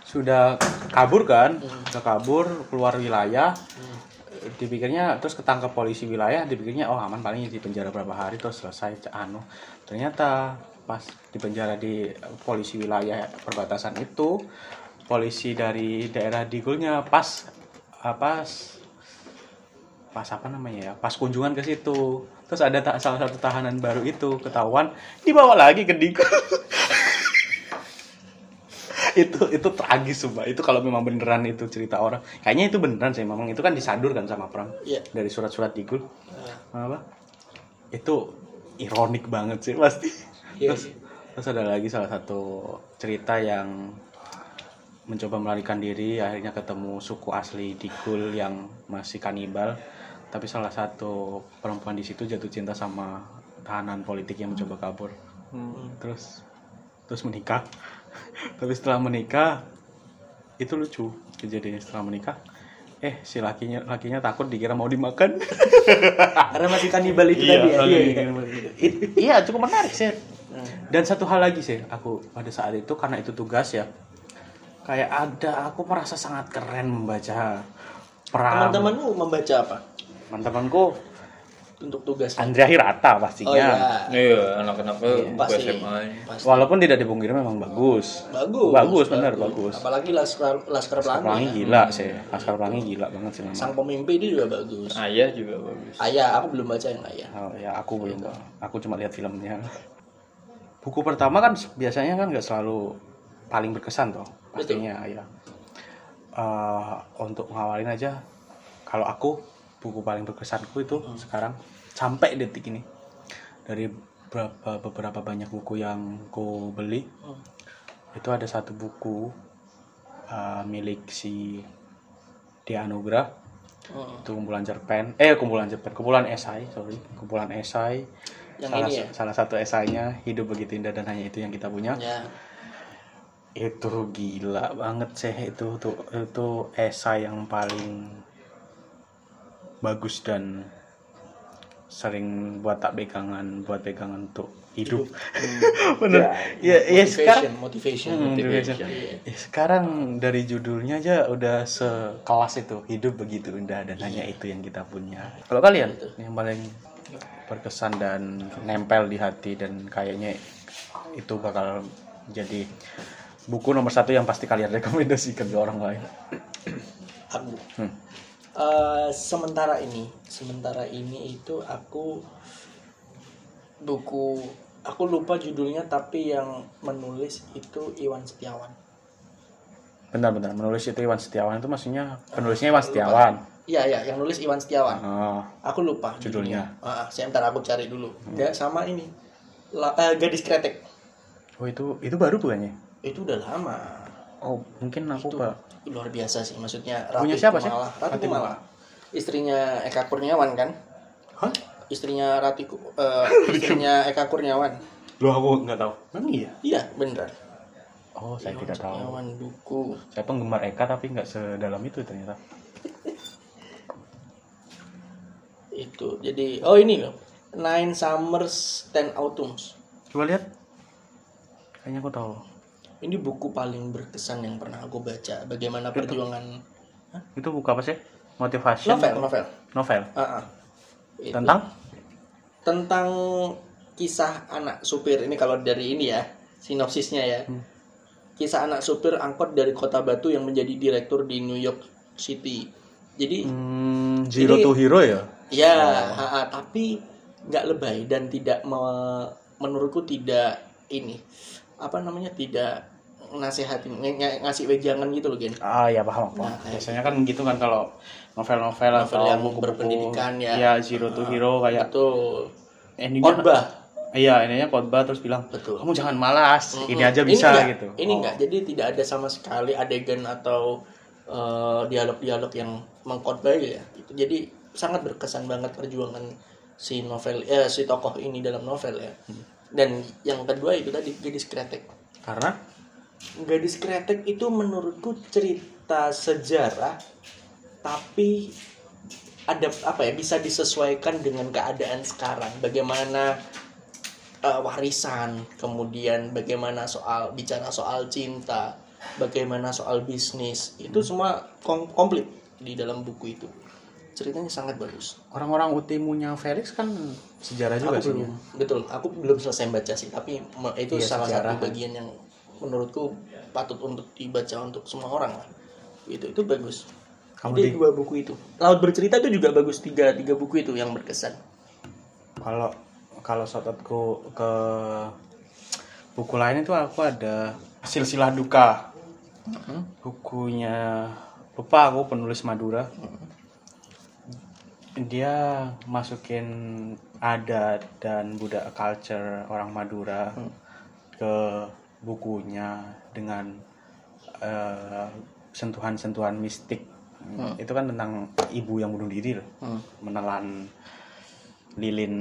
sudah kabur kan sudah kabur keluar wilayah dipikirnya terus ketangkep polisi wilayah dipikirnya oh aman paling di penjara berapa hari terus selesai Cak anu ternyata pas di penjara di polisi wilayah perbatasan itu polisi dari daerah digulnya pas apa s- pas apa namanya ya pas kunjungan ke situ terus ada ta- salah satu tahanan baru itu ketahuan dibawa lagi ke digul itu itu tragis sumpah itu kalau memang beneran itu cerita orang kayaknya itu beneran sih memang itu kan disadurkan sama perang Iya. dari surat-surat digul Nah, apa itu ironik banget sih pasti Iya terus, sih. terus ada lagi salah satu cerita yang mencoba melarikan diri akhirnya ketemu suku asli Digul yang masih kanibal tapi salah satu perempuan di situ jatuh cinta sama tahanan politik yang mencoba kabur terus terus menikah tapi setelah menikah itu lucu kejadiannya setelah menikah eh si lakinya lakinya takut dikira mau dimakan Karena masih kanibal itu Ah. Iya, tadi ya. iya, Iya, iya. It- iya cukup menarik sih dan satu hal lagi sih aku pada saat itu karena itu tugas ya kayak ada aku merasa sangat keren membaca perang Teman-temanmu membaca apa? teman-temanku Untuk tugas. Andrea Hirata pastinya Oh iya. Iya, anak-anak buka Pasti. SMA. Pasti. walaupun tidak dipungkiri memang bagus Bagus. bagus bener bagus Apalagi Laskar Laskar Pelangi Pelangi. gila sih Laskar Pelangi gila banget sih memang Sang pemimpin itu juga bagus. Nah. Ayah Ah, iya juga bagus. Ayah, aku belum baca yang ayah. Oh, ya aku belum aku cuma lihat filmnya buku pertama kan biasanya kan nggak selalu paling berkesan toh pastinya ya Eh, untuk ngawalin aja kalau aku buku paling berkesanku itu sekarang sampai detik ini dari berapa beberapa banyak buku yang ku beli Hmm. itu ada satu buku eh, milik si Dia Anugrah Hmm. itu kumpulan cerpen eh kumpulan cerpen kumpulan esai sorry kumpulan esai Yang salah, ini ya? salah satu esainya hidup begitu indah dan hanya itu yang kita punya Ya. itu gila banget sih itu tuh itu esai yang paling bagus dan sering buat tak pegangan buat pegangan untuk hidup bener ya ya sekarang Hmm. Motivation, motivation. Iya. Hmm, Motivation. motivation. Ya, sekarang dari judulnya aja udah sekelas itu hidup begitu indah dan hanya itu yang kita punya kalau kalian yang paling berkesan dan nempel di hati dan kayaknya itu bakal jadi buku nomor satu yang pasti kalian rekomendasikan ke orang lain Aku. Hmm. Eh, sementara ini, sementara ini itu aku buku aku lupa judulnya tapi yang menulis itu Iwan Setiawan. benar-benar menulis itu Iwan Setiawan itu maksudnya penulisnya Iwan Setiawan Iya, iya, yang nulis Iwan Setiawan. oh, Aku lupa Judulnya. Hmm. Ah, ah, saya ntar aku cari dulu. Ya, sama ini. La- eh, gadis kretek. oh itu itu baru bukannya Itu udah lama. oh mungkin aku Itu pak luar biasa sih maksudnya. Punya siapa sih? Kumala. Ratu Ratu Kumala. Istrinya Eka Kurniawan kan? Hah? Istrinya Ratu Ku- eh, istrinya Eka Kurniawan. lo aku nggak tahu memang iya Iya, beneran. oh saya Iwan tidak tahu Kurniawan buku. Saya penggemar Eka tapi nggak sedalam itu ternyata. Itu. Jadi, oh ini loh. Nine Summers, Ten Autumns. Coba lihat. Kayaknya aku tahu. Ini buku paling berkesan yang pernah aku baca. Bagaimana perjuangan Itu buku apa sih? Motivasi novel, novel. Novel. Ah, ah. Itu. Tentang tentang kisah anak supir ini kalau dari ini ya sinopsisnya ya Hmm. kisah anak supir angkot dari kota Batu yang menjadi direktur di New York City jadi hmm, Zero to Hero ya? ya ha, ha, tapi nggak lebay dan tidak me- menurutku tidak ini apa namanya tidak nasehatin ng- ng- ngasih wejangan gitu loh Gen Ah ya paham aku. Nah, kayak Biasanya kan gitu kan kalau novel-novel Novel atau yang buku-buku- berpendidikan ya. Iya, Zero to Hero kayak betul endingnya khotbah Iya, endingnya khotbah terus bilang, Betul. "Kamu jangan malas, ini aja Mm-mm. bisa enggak, gitu." Ini Oh. enggak, jadi tidak ada sama sekali adegan atau eh, dialog-dialog yang mengkhotbah ya. Gitu. Jadi sangat berkesan banget perjuangan si novel eh, si tokoh ini dalam novel ya. Hmm. Dan yang kedua itu tadi gadis kretek. Karena Gadis kretek itu menurutku cerita sejarah tapi ada apa ya bisa disesuaikan dengan keadaan sekarang. Bagaimana eh, warisan, kemudian bagaimana soal bicara soal cinta, bagaimana soal bisnis, itu semua kom- komplit di dalam buku itu. Ceritanya sangat bagus. Orang-orang UTMU-nya Felix kan sejarah juga aku sih. belum, betul, aku belum selesai baca sih, tapi me- itu Iya, salah sejarah. satu bagian yang menurutku patut untuk dibaca untuk semua orang lah. Itu itu bagus. Kamu Jadi di- dua buku itu. Laut bercerita itu juga bagus tiga tiga buku itu yang berkesan. Kalau kalau shoutoutku ke buku lain itu aku ada silsilah duka. Bukunya lupa aku penulis Madura. Dia masukin adat dan budaya culture orang Madura ke bukunya dengan eh, sentuhan-sentuhan mistik. Itu kan tentang ibu yang bunuh diri loh. Menelan lilin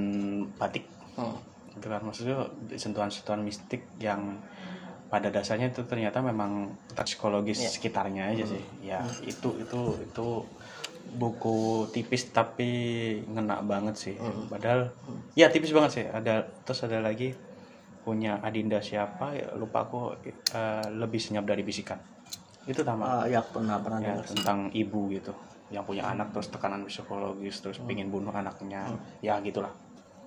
batik Hmm. itu kan maksudnya sentuhan-sentuhan mistik yang pada dasarnya itu ternyata memang psikologis sekitarnya aja sih ya itu itu itu buku tipis tapi ngena banget sih padahal ya tipis banget sih ada terus ada lagi punya Adinda siapa ya, lupa aku eh, lebih senyap dari bisikan itu sama Ah, ya pernah pernah ya, dengar. tentang ibu gitu yang punya anak terus tekanan psikologis terus pingin bunuh anaknya ya gitulah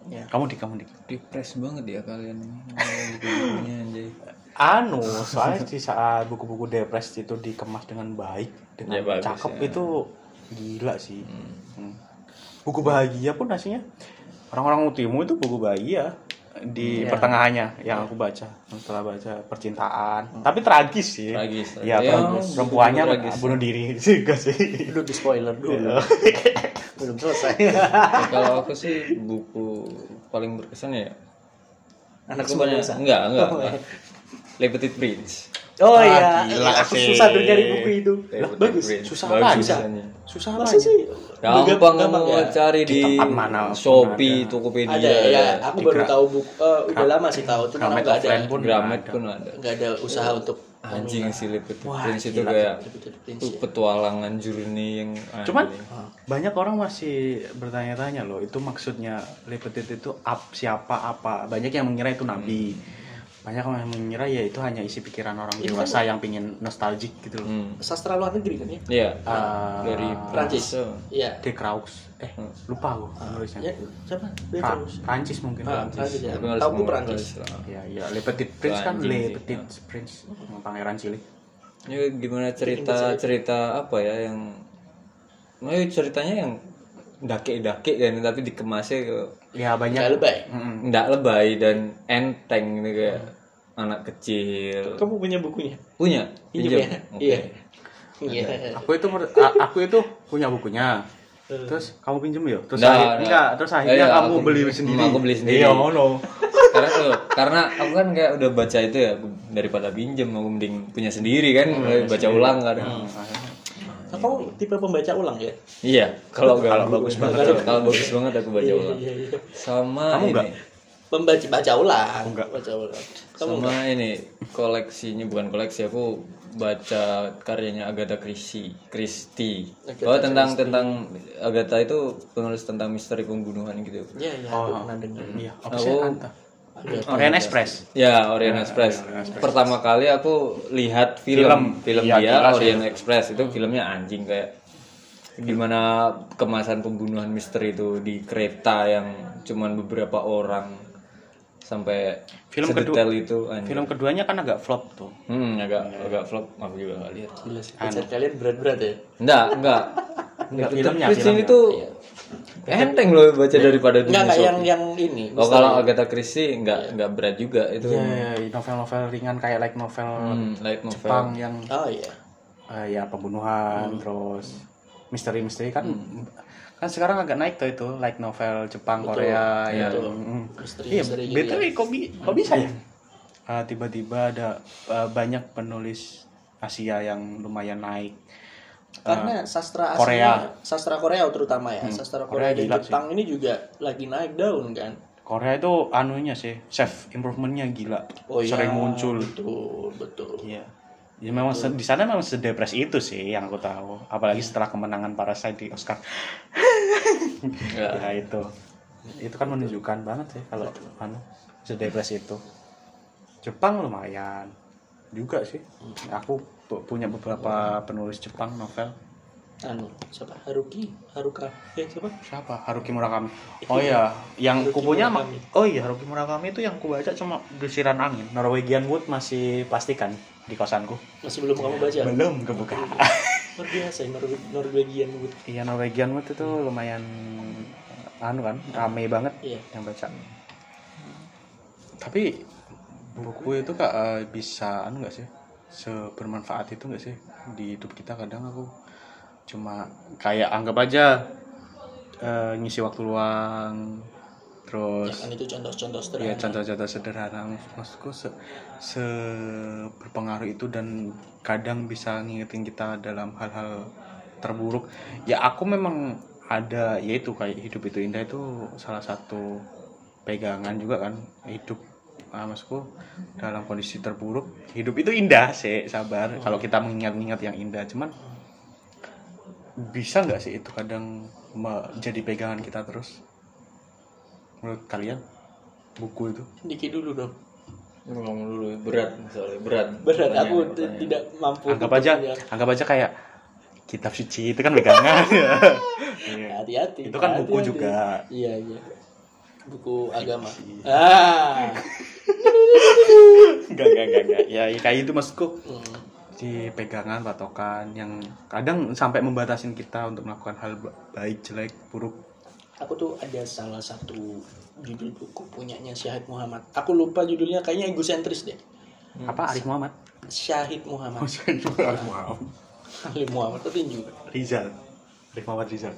Ya. kamu dik kamu dik Depres banget ya kalian ini. Ngomongin bukunya, anjay. anu soalnya di saat buku-buku depres itu dikemas dengan baik dengan Ya, bagus, cakep ya. itu gila sih Hmm. buku bahagia pun aslinya orang-orang utimu itu buku bahagia di Ya. pertengahannya yang aku baca setelah baca percintaan tapi tragis sih Tragis, tragis. ya, Ya, perempuan- buku-buku perempuannya tragis. bunuh diri sih gak sih Dulu di spoiler dulu. Ya. Belum selesai. Ya, kalau aku sih buku paling berkesan ya Anak Aku sumber banyak- desa. enggak enggak, Oh, iya. enggak. Liberty Prince Oh Wah, iya, gila aku sih. susah tuh nyari buku itu. Lah, bagus. Susah apa aja? susah Masa sih? gampang gampang mau ya? cari Di di, tempat mana pun Shopee ada. iya. Tokopedia Ada ya, aku Di baru Gra- tahu buku. eh, udah lama sih tahu, cuma Gramet nggak ada offline pun Iya. Gramet ada. pun ada nggak ada usaha untuk anjing sih Liberty Wah, Prince itu gila. kayak Betul-betul ya. itu prinsip. petualangan journey yang aneh. Cuman banyak orang masih bertanya-tanya loh, itu maksudnya Liberty itu up siapa apa? Banyak yang mengira itu nabi. Banyak yang mengira ya itu hanya isi pikiran orang dewasa yang pingin nostalgic gitu loh. hmm. Sastra luar negeri kan ya? Iya, Ah, dari Prancis. tuh. Iya. De Krauss. Eh, lupa gua Ya, penulisnya. siapa? Dia Pra- terus. Prancis mungkin. Ah, Prancis ya. Aku Tahu nggak aku semua Prancis. Prancis. Ya, ya Le Petit Prince kan Anjing sih. Le Petit Prince, pangeran cilik. Ya gimana cerita cerita apa ya yang Nah, ya ceritanya yang dake-dake kan tapi dikemasnya ke hmm, Ya banyak Nggak lebay. ndak lebay dan enteng gitu kayak anak kecil. Kamu punya bukunya? Punya? Pinjam ya? Oke. Iya. Iya. aku itu mer- a- aku itu punya bukunya terus kamu pinjem ya terus Nggak, akhir- nggak. Eh. enggak terus akhirnya Iya, kamu aku- beli hmm, sendiri aku beli sendiri. iya ngono karena tuh karena aku kan kayak udah baca itu ya aku- daripada pinjem aku mending punya sendiri kan baca ulang kan. Hmm. Nah, kamu tipe pembaca ulang ya? Iya, kalau kalau bagus banget tuh. kalau bagus banget aku baca ulang. Iya, iya. Sama Kamu ini. nggak? Pembaca baca Oh, ulang. Enggak. Baca ulang. Kamu sama ini koleksinya bukan koleksi aku baca karyanya Agatha Christie Christie Agatha oh tentang tentang Agatha itu penulis tentang misteri pembunuhan gitu Iya, iya, aku pernah dengar. iya obsekan ta. Ada Orient Express ya Orient Express pertama kali aku lihat Film. film film, Iya, dia jelas ya. Orient Express itu filmnya anjing kayak gimana kemasan pembunuhan misteri itu di kereta yang cuman beberapa orang sampai Film sedetail itu anjing. film Iya. keduanya kan agak flop tuh Hmm, agak agak flop aku juga nggak lihat. Gila sih, pacar kalian berat-berat ya? Enggak, enggak. Iya. Enggak, Tapi filmnya, Christie filmnya. ini tuh enteng loh baca daripada Iya. Enggak, dunia enggak yang Iya. Sophie. yang ini. Oh, kalau Agatha Christie enggak enggak berat juga itu. ya novel-novel ringan kayak like novel Hmm, light novel. Jepang yang Oh iya. eh, ya pembunuhan terus misteri-misteri kan kan sekarang agak naik tuh itu like novel Jepang Korea ya Mm. betul. Iya, Misteri-misteri gitu ya. BTW kok, bi- kok bisa ya? Ah, tiba-tiba ada ah, banyak penulis Asia yang lumayan naik. Ah, Karena sastra aslinya- Korea. Hmm. sastra Korea terutama ya, sastra Korea Korea, dan gila Jepang ini juga lagi naik daun kan. Korea itu anunya sih, self improvementnya gila. Sering muncul. Oh iya, Betul, betul. Iya. Ya memang se- di sana memang sedepres itu sih yang aku tahu. Apalagi setelah kemenangan Parasite di Oscar. Enggak. ya itu. Itu kan menunjukkan banget sih kalau anu sedepresi itu Jepang lumayan juga sih aku pu- punya beberapa penulis Jepang novel anu siapa Haruki Haruka eh siapa siapa Haruki Murakami oh iya yang Haruki kupunya ma- Murakami. oh iya Haruki Murakami itu yang kubaca cuma desiran angin Norwegian Wood masih pastikan di kosanku masih belum kamu baca belum kebuka luar biasa ya, Norwe- Norwegian Wood iya Norwegian Wood itu lumayan anu kan rame banget Iya. yang baca tapi buku itu kak eh, bisa anu nggak sih sebermanfaat itu nggak sih di hidup kita kadang aku cuma kayak anggap aja eh, ngisi waktu luang ya terus kan itu contoh-contoh ya sederhana contoh-contoh sederhana Mak- maksudku se, se- berpengaruh itu dan kadang bisa ngingetin kita dalam hal-hal terburuk ya aku memang ada yaitu kayak hidup itu indah itu salah satu pegangan juga kan hidup ah, maksudku dalam kondisi terburuk hidup itu indah sih sabar kalau kita mengingat-ingat yang indah cuman bisa nggak sih itu kadang me- jadi pegangan kita terus menurut kalian buku itu Dikit dulu dong ngomong dulu berat soalnya berat berat Pertanyaan- aku t- pertanyaan. tidak mampu Iya, anggap untuk aja menjawab. anggap aja kayak kitab suci itu kan pegangan ya. Iya. hati-hati itu kan buku hati-hati. juga Iya. iya iya buku agama ah enggak enggak enggak, enggak. ya kayak itu maksudku Hmm. di pegangan patokan yang kadang sampai membatasin kita untuk melakukan hal ba- baik jelek buruk aku tuh ada salah satu judul buku punyanya Syahid Muhammad aku lupa judulnya kayaknya egosentris deh apa Arif Muhammad Syahid Muhammad Oh, Syahid Muhammad petinju Rizal Arif Muhammad Rizal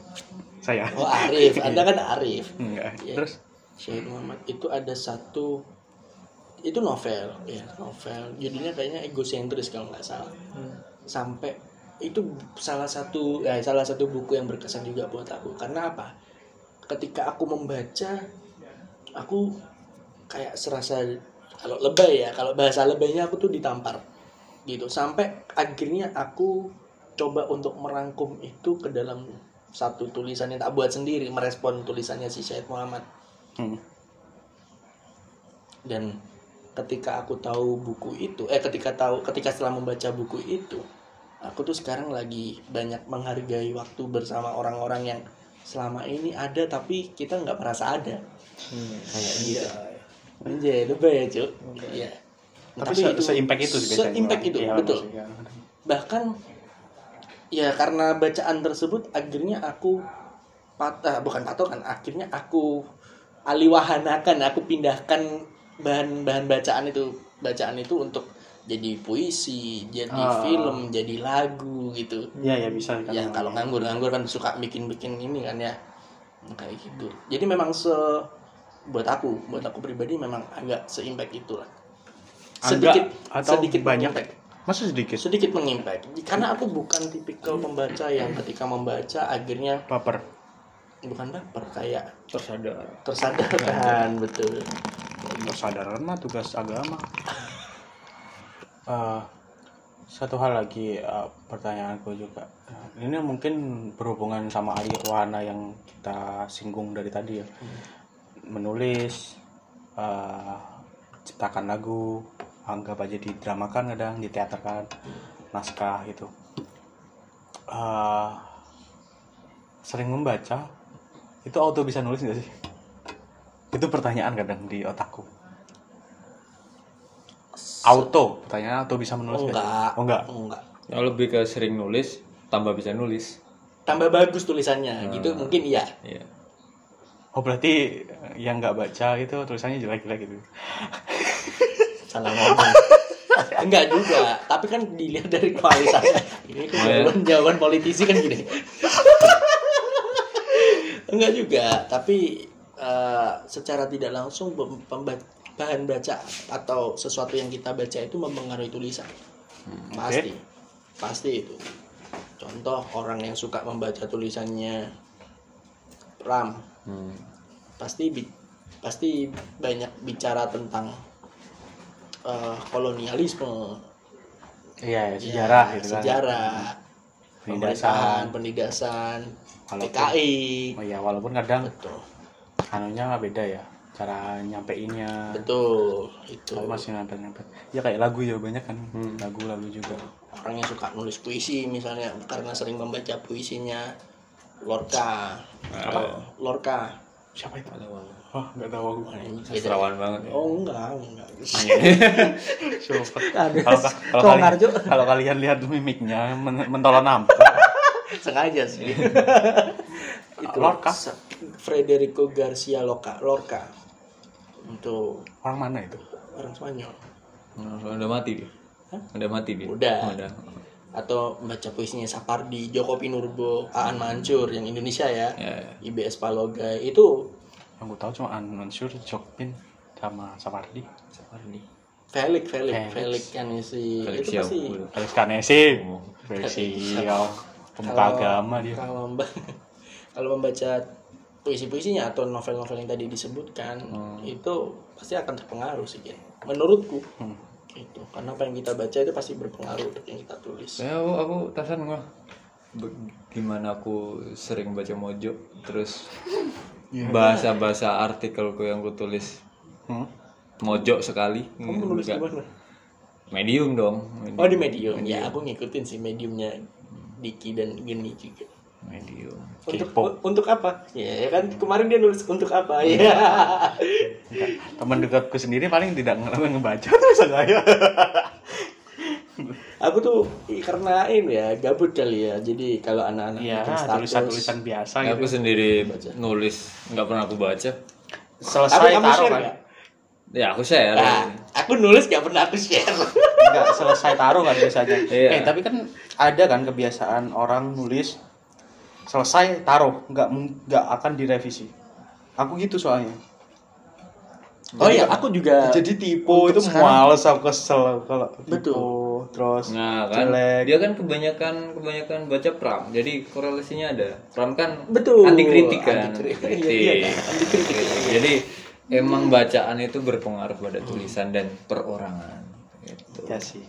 saya oh Arif Anda kan Arif enggak Iya. terus Syahid Muhammad itu ada satu itu novel ya novel judulnya kayaknya egosentris kalau nggak salah sampai itu salah satu ya, salah satu buku yang berkesan juga buat aku karena apa ketika aku membaca aku kayak serasa kalau lebay ya kalau bahasa lebaynya aku tuh ditampar gitu sampai akhirnya aku coba untuk merangkum itu ke dalam satu tulisan yang tak buat sendiri merespon tulisannya si Syed Muhammad Hmm. dan ketika aku tahu buku itu eh ketika tahu ketika setelah membaca buku itu aku tuh sekarang lagi banyak menghargai waktu bersama orang-orang yang selama ini ada tapi kita nggak merasa ada Hmm. kayak gitu anjay lebay ya cuk iya tapi, se, se-impact itu sih biasanya se-impact itu Iya, betul maksudnya. bahkan ya karena bacaan tersebut akhirnya aku patah bukan patokan akhirnya aku aliwahanakan aku pindahkan bahan-bahan bacaan itu bacaan itu untuk jadi puisi jadi Ah. film jadi lagu gitu Iya ya bisa kan. ya kalau nganggur-nganggur kan suka bikin-bikin ini kan ya kayak gitu jadi memang se buat aku buat aku pribadi memang agak seimpact itulah Agak sedikit atau sedikit banyak? mengimpact masa sedikit Ya, sedikit mengimpact karena aku bukan tipikal pembaca yang ketika membaca akhirnya paper bukan baper kayak tersadar tersadarkan betul kesadaran mah tugas agama Eh, satu hal lagi eh, pertanyaanku juga Nah, ini mungkin berhubungan sama Ari Wahana yang kita singgung dari tadi ya menulis eh, ciptakan lagu anggap aja didramakan kadang di teaterkan naskah gitu Eh, sering membaca itu auto bisa nulis nggak sih itu pertanyaan kadang di otakku auto pertanyaan auto bisa menulis nggak sih? enggak oh enggak enggak ya, lebih ke sering nulis tambah bisa nulis tambah bagus tulisannya gitu mungkin iya Iya. oh berarti yang nggak baca itu tulisannya jelek-jelek gitu salah ngomong enggak juga tapi kan dilihat dari kualitasnya ini kebetulan jawaban politisi kan gini enggak juga tapi eh, secara tidak langsung pem- pemba- bahan baca atau sesuatu yang kita baca itu mempengaruhi tulisan pasti pasti itu contoh orang yang suka membaca tulisannya Ram Hmm. pasti bi- pasti banyak bicara tentang eh, kolonialisme iya ya, Ya, sejarah gitu kan sejarah pemerintahan Penindasan. penindasan Walaupun- PKI oh iya walaupun kadang betul anunya beda ya cara nyampeinnya betul itu Aku masih nyampe nyampe ya kayak lagu ya banyak kan lagu lagu juga orang yang suka nulis puisi misalnya karena sering membaca puisinya Lorca apa Lorca siapa itu wah nggak tahu aku Sastrawan banget. oh enggak enggak Coba. Aduh, kalau ka- kalau kok kalian- ngarjo? kalau kalian lihat mimiknya men- mentolan nampak sengaja sih itu Lorca? Sa- Federico Garcia Lorca Lorca untuk orang mana itu orang Spanyol Udah mati dia. Udah mati dia. Udah. Udah. atau baca puisinya Sapardi, Joko Pinurbo, Aan Mansur yang Indonesia ya, Ya, ya. IBS Paloga itu yang gue tahu cuma An Mansur Jokpin sama Sapardi Sapardi. Felix Felix Felix. Felix kan si Felix itu Siau. pasti Alex Kanesi Oh. versi ya, pemuka Kalau- agama dia kalau memba- kalau membaca puisi-puisinya atau novel-novel yang tadi disebutkan Hmm. itu pasti akan terpengaruh sih Gen. menurutku Hmm. itu karena apa yang kita baca itu pasti berpengaruh untuk yang kita Hmm, tulis Ya, aku, aku tasan gua. Be- Gimana aku sering baca mojo terus Iya. bahasa-bahasa artikelku yang ku tulis Hmm? mojo sekali. kamu menulis di Enggak. mana Medium dong. oh di medium ya aku ngikutin sih mediumnya Diki dan Geni juga Medium. untuk K-pop. u- untuk apa ya kan kemarin dia nulis untuk Hmm. apa ya Enggak. teman dekatku sendiri paling tidak ngalamin ngebaca terus saya aku tuh i- karena ini ya gabut kali ya jadi kalau anak-anak iya bikin tulisan tulisan biasa gitu Aku sendiri nulis nggak pernah aku baca. tapi selesai kamu taruh share kan nggak? Ya aku share. Nah, aku nulis gak pernah aku share. Enggak, selesai taruh kan biasanya. Iya. Eh, tapi kan ada kan kebiasaan orang nulis selesai taruh, nggak mung- nggak akan direvisi. Aku gitu soalnya. Oh iya, aku juga. Jadi typo itu males aku kesel kalau Betul. typo, terus Nah kan jelek. dia kan kebanyakan kebanyakan baca pram. Jadi korelasinya ada. Pram kan Betul. anti kritik kan. Anti kritik. Anti Iya, kritik. iya, anti kritik. Gitu. Jadi emang bacaan itu berpengaruh pada tulisan dan perorangan. Gitu. Ya sih.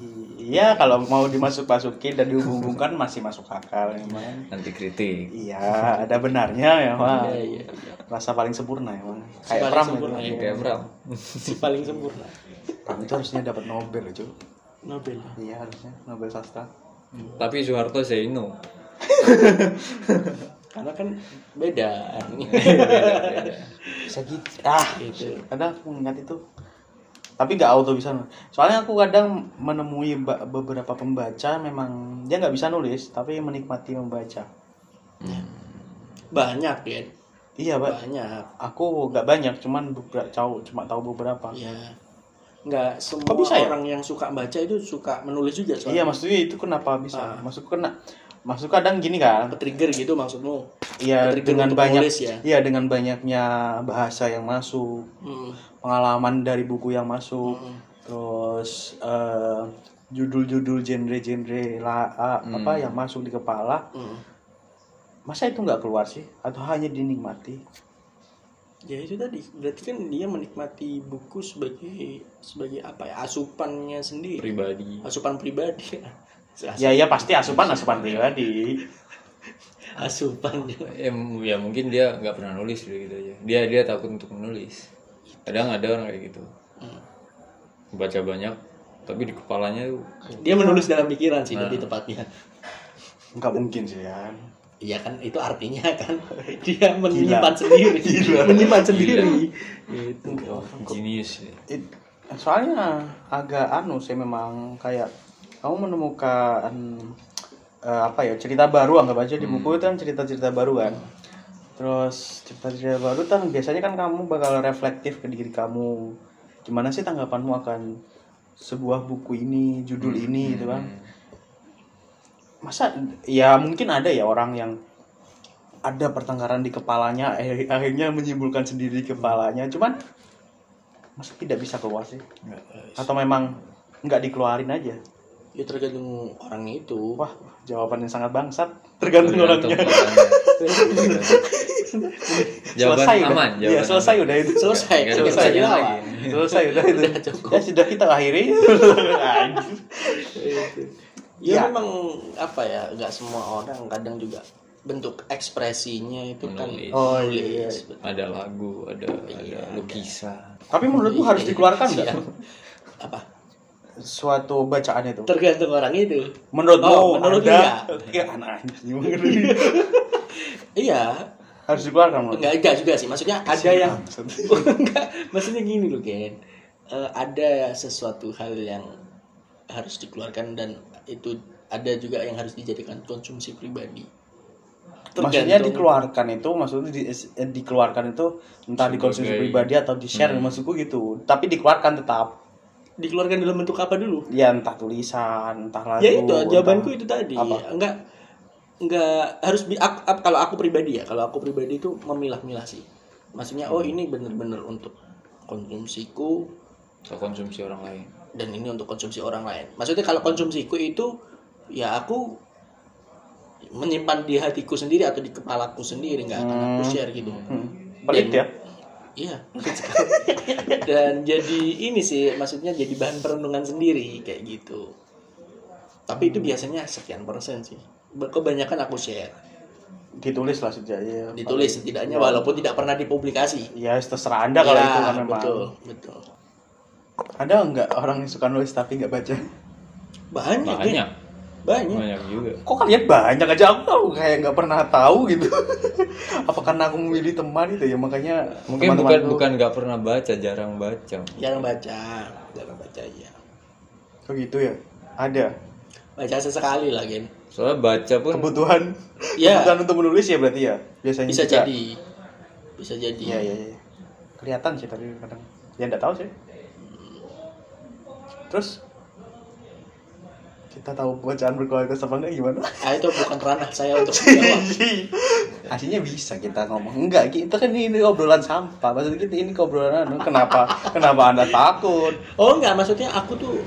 I- Iya, kalau mau dimasuk-masukin dan dihubung-hubungkan masih masuk akal emang. Anti kritik. Iya, ada benarnya ya, Mak. Iya, iya. Rasa paling sempurna emang. paling Kayak Pram gitu. sempurna, Iya, kayak pram. si paling sempurna. Pram itu harusnya dapat Nobel, cuy. Nobel. Iya, harusnya Nobel sastra. Tapi Soeharto say no. Karena kan beda. Iya, bisa gitu ah Gitu. kadang aku ingat itu tapi nggak auto bisa nulis. soalnya aku kadang menemui ba- beberapa pembaca memang dia nggak bisa nulis tapi menikmati membaca Banyak ya. iya pak Banyak. aku nggak banyak cuman beberapa tahu cuma tahu beberapa Ya. Nggak semua Kok bisa ya? orang yang suka baca itu suka menulis juga. iya Soalnya maksudnya itu kenapa bisa maksudku kena maksud kadang gini kan trigger gitu maksudmu. iya Ketrigger dengan untuk banyak menulis ya? iya dengan banyaknya bahasa yang masuk Hmm. pengalaman dari buku yang masuk terus eh, judul-judul genre-genre la- a- apa yang masuk di kepala hmm. masa itu nggak keluar sih atau hanya dinikmati Ya itu tadi. Berarti kan dia menikmati buku sebagai sebagai apa ya? Asupannya sendiri. Pribadi. Asupan pribadi. ya ya pasti asupan asupan pribadi Asupan juga. Ya, m- ya mungkin dia nggak pernah nulis gitu aja. Dia dia takut untuk menulis. Kadang ada orang kayak gitu. Hmm. Baca banyak tapi di kepalanya tuh Dia menulis dalam pikiran sih lebih tepatnya. nggak mungkin sih ya Iya kan itu artinya kan dia menyimpan sendiri, menyimpan sendiri. Gitu. genius ya. It- soalnya agak anu sih memang kayak kamu menemukan eh, apa ya cerita baru anggap aja di buku itu kan cerita-cerita baru kan terus cerita-cerita baru kan biasanya kan kamu bakal reflektif ke diri kamu gimana sih tanggapanmu akan sebuah buku ini judul Hmm. ini gitu kan masa ya mungkin ada ya orang yang ada pertengkaran di kepalanya eh, akhirnya menyimpulkan sendiri di kepalanya cuman masa tidak bisa keluar sih eh, atau memang nggak dikeluarin aja Ya tergantung orang itu. wah jawaban yang sangat bangsat tergantung Tergantung orangnya orangnya. jawaban selesai udah aman, jawaban ya selesai aman. udah itu ya. Selesai, Nggak ada selesai pertanyaan dilawan. Ya, lagi. selesai udah itu Udah cukup. ya sudah kita akhiri Anjir. Ya, Ya. Iya. memang apa ya, nggak semua ya, orang kadang juga bentuk ekspresinya itu kan Menulis. Oh, iya. menulis, betul. ada lagu ada ada lukisan Tapi menurutmu harus Iya. Iya, dikeluarkan nggak apa suatu bacaan itu? tergantung orang itu Menurutmu Oh, menurut Anda- enggak. iya. ya anak anjing banget ini. iya harus dikeluarkan menurut. enggak enggak juga sih maksudnya ada yang enggak maksudnya gini loh Ken Eh, ada sesuatu hal yang harus dikeluarkan dan itu ada juga yang harus dijadikan konsumsi pribadi Maksudnya Tergantung- dikeluarkan itu maksudnya di- eh, dikeluarkan itu entah dikonsumsi Sebagai- pribadi atau di share Hmm. maksudku gitu. Tapi dikeluarkan tetap. dikeluarkan dalam bentuk apa dulu Ya entah tulisan, entah lagu. ya itu jawabanku entah- itu tadi apa? enggak enggak harus bi ak- ak- kalau aku pribadi ya kalau aku pribadi itu memilah-milah sih maksudnya Hmm. oh ini bener-bener untuk konsumsiku atau konsumsi orang lain dan ini untuk konsumsi orang lain maksudnya kalau konsumsiku itu ya aku menyimpan di hatiku sendiri atau di kepalaku sendiri nggak akan aku share gitu Hmm. Pelit ya. Iya, mungkin sekali. Dan jadi ini sih, maksudnya jadi bahan perenungan sendiri kayak gitu. Tapi itu biasanya sekian persen sih. Be- Kebanyakan aku share, Ditulis lah sejak ya. ditulis setidaknya walaupun tidak pernah dipublikasi. Ya terserah Anda kalau Ya, itu kan memang. betul, betul. Ada nggak orang yang suka nulis tapi nggak baca? Iya, Banyak, banyak Gen. banyak. banyak juga Kok kalian banyak aja aku tahu kayak nggak pernah tahu gitu. Apa karena aku memilih teman itu ya makanya mungkin bukan teman-temanku- bukan nggak pernah baca jarang baca Jarang baca, jarang baca ya. Oh gitu ya. Ada Baca sesekali lah, Gen. soalnya baca pun kebutuhan. Ya. Kebutuhan untuk menulis ya berarti ya. Biasanya Bisa juga. jadi, bisa jadi. Iya iya iya. Kelihatan sih tadi kadang. Ya nggak tahu sih. Terus kita tahu bacaan berkualitas apa enggak gimana? Ah, itu bukan ranah saya untuk menjawab. Aslinya bisa kita ngomong enggak kita kan ini obrolan sampah maksudnya kita ini obrolan anu. kenapa kenapa anda takut Oh enggak, maksudnya aku tuh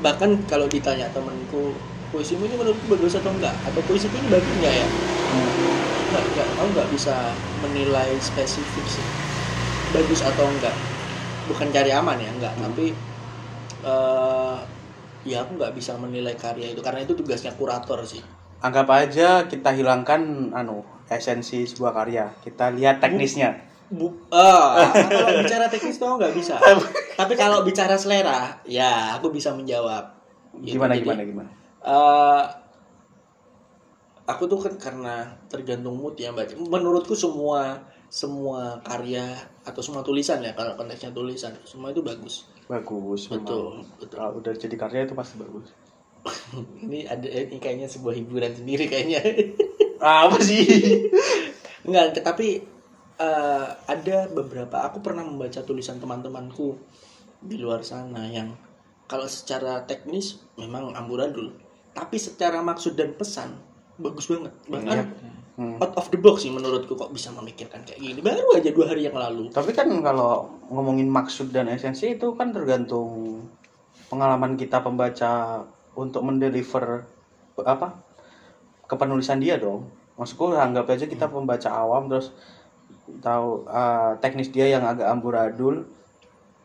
bahkan kalau ditanya temanku puisimu ini menurutku bagus atau enggak atau puisiku ini bagus enggak ya Hmm. enggak, enggak, aku enggak bisa menilai spesifik sih bagus atau enggak bukan cari aman ya Hmm. enggak tapi eh ya aku enggak bisa menilai karya itu karena itu tugasnya kurator sih anggap aja kita hilangkan anu esensi sebuah karya kita lihat teknisnya Bu, ah, kalau bicara teknis tuh nggak bisa. Tapi kalau bicara selera, ya aku bisa menjawab. Gitu. gimana Jadi, gimana gimana eh aku tuh kan karena tergantung mood ya mbak. Menurutku semua semua karya atau semua tulisan ya kalau konteksnya tulisan semua itu bagus. bagus memang. Betul betul. kalau Ah, udah jadi karya itu pasti bagus Ini ada ini kayaknya sebuah hiburan sendiri kayaknya. apa sih Enggak, tapi eh, ada beberapa aku pernah membaca tulisan teman-temanku di luar sana yang kalau secara teknis memang amburadul, tapi secara maksud dan pesan bagus banget. Bahkan Hmm. out of the box sih menurutku kok bisa memikirkan kayak gini. Baru aja dua hari yang lalu. tapi kan kalau ngomongin maksud dan esensi itu kan tergantung pengalaman kita pembaca untuk mendeliver apa kepenulisan dia dong maksudku anggap aja kita pembaca awam terus tahu eh, teknis dia yang agak amburadul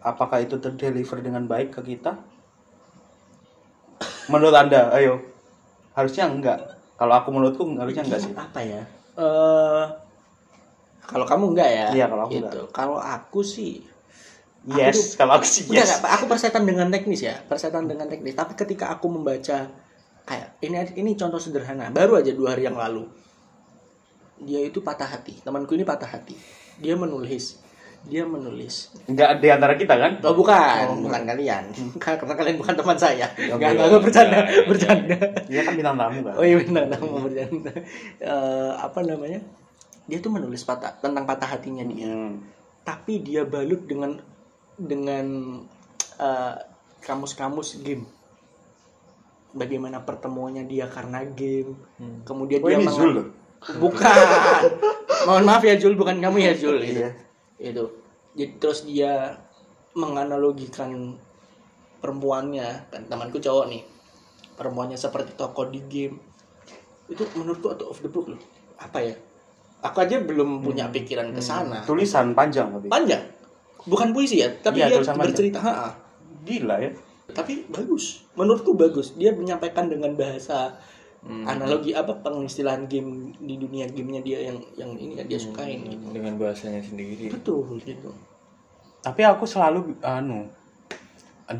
apakah itu terdeliver dengan baik ke kita menurut anda ayo harusnya enggak kalau aku menurutku harusnya enggak sih Apa ya? Eh kalau kamu enggak ya? Iya, kalau aku Gitu. Kalau aku sih yes kalau aku sih Udah yes nggak, Pak? aku persetan dengan teknis ya, persetan dengan teknis. Tapi ketika aku membaca kayak ini ini contoh sederhana, baru aja dua hari yang lalu. Dia itu patah hati, temanku ini patah hati. Dia menulis, dia menulis. enggak di antara kita kan Oh bukan, bukan Oh, iya. kalian, karena kalian bukan teman saya. Ya, Enggak, bukan. enggak, enggak, bercanda, Ya, ya, ya. bercanda. dia kan bintang tamu kan Oh iya benar, nama bercanda. Eh, apa namanya? Dia tuh menulis patah tentang patah hatinya Iya, dia Hmm. tapi dia balut dengan dengan eh, kamus-kamus game bagaimana pertemuannya dia karena game kemudian Oh, dia ini menga- Zul loh. bukan mohon maaf ya Jul bukan kamu ya Jul itu Iya. itu jadi terus dia menganalogikan perempuannya kan temanku cowok nih perempuannya seperti tokoh di game itu menurutku out of the book loh apa ya aku aja belum punya pikiran ke sana Tulisan panjang tapi. panjang bukan puisi ya tapi Iya, dia tulisan bercerita ha-ha. Gila ya. tapi bagus menurutku bagus dia menyampaikan dengan bahasa Hmm. Hmm. analogi apa pengistilahan game di dunia gamenya dia yang yang ini yang dia Hmm. sukain gitu. dengan bahasanya Iya. sendiri betul gitu tapi aku selalu anu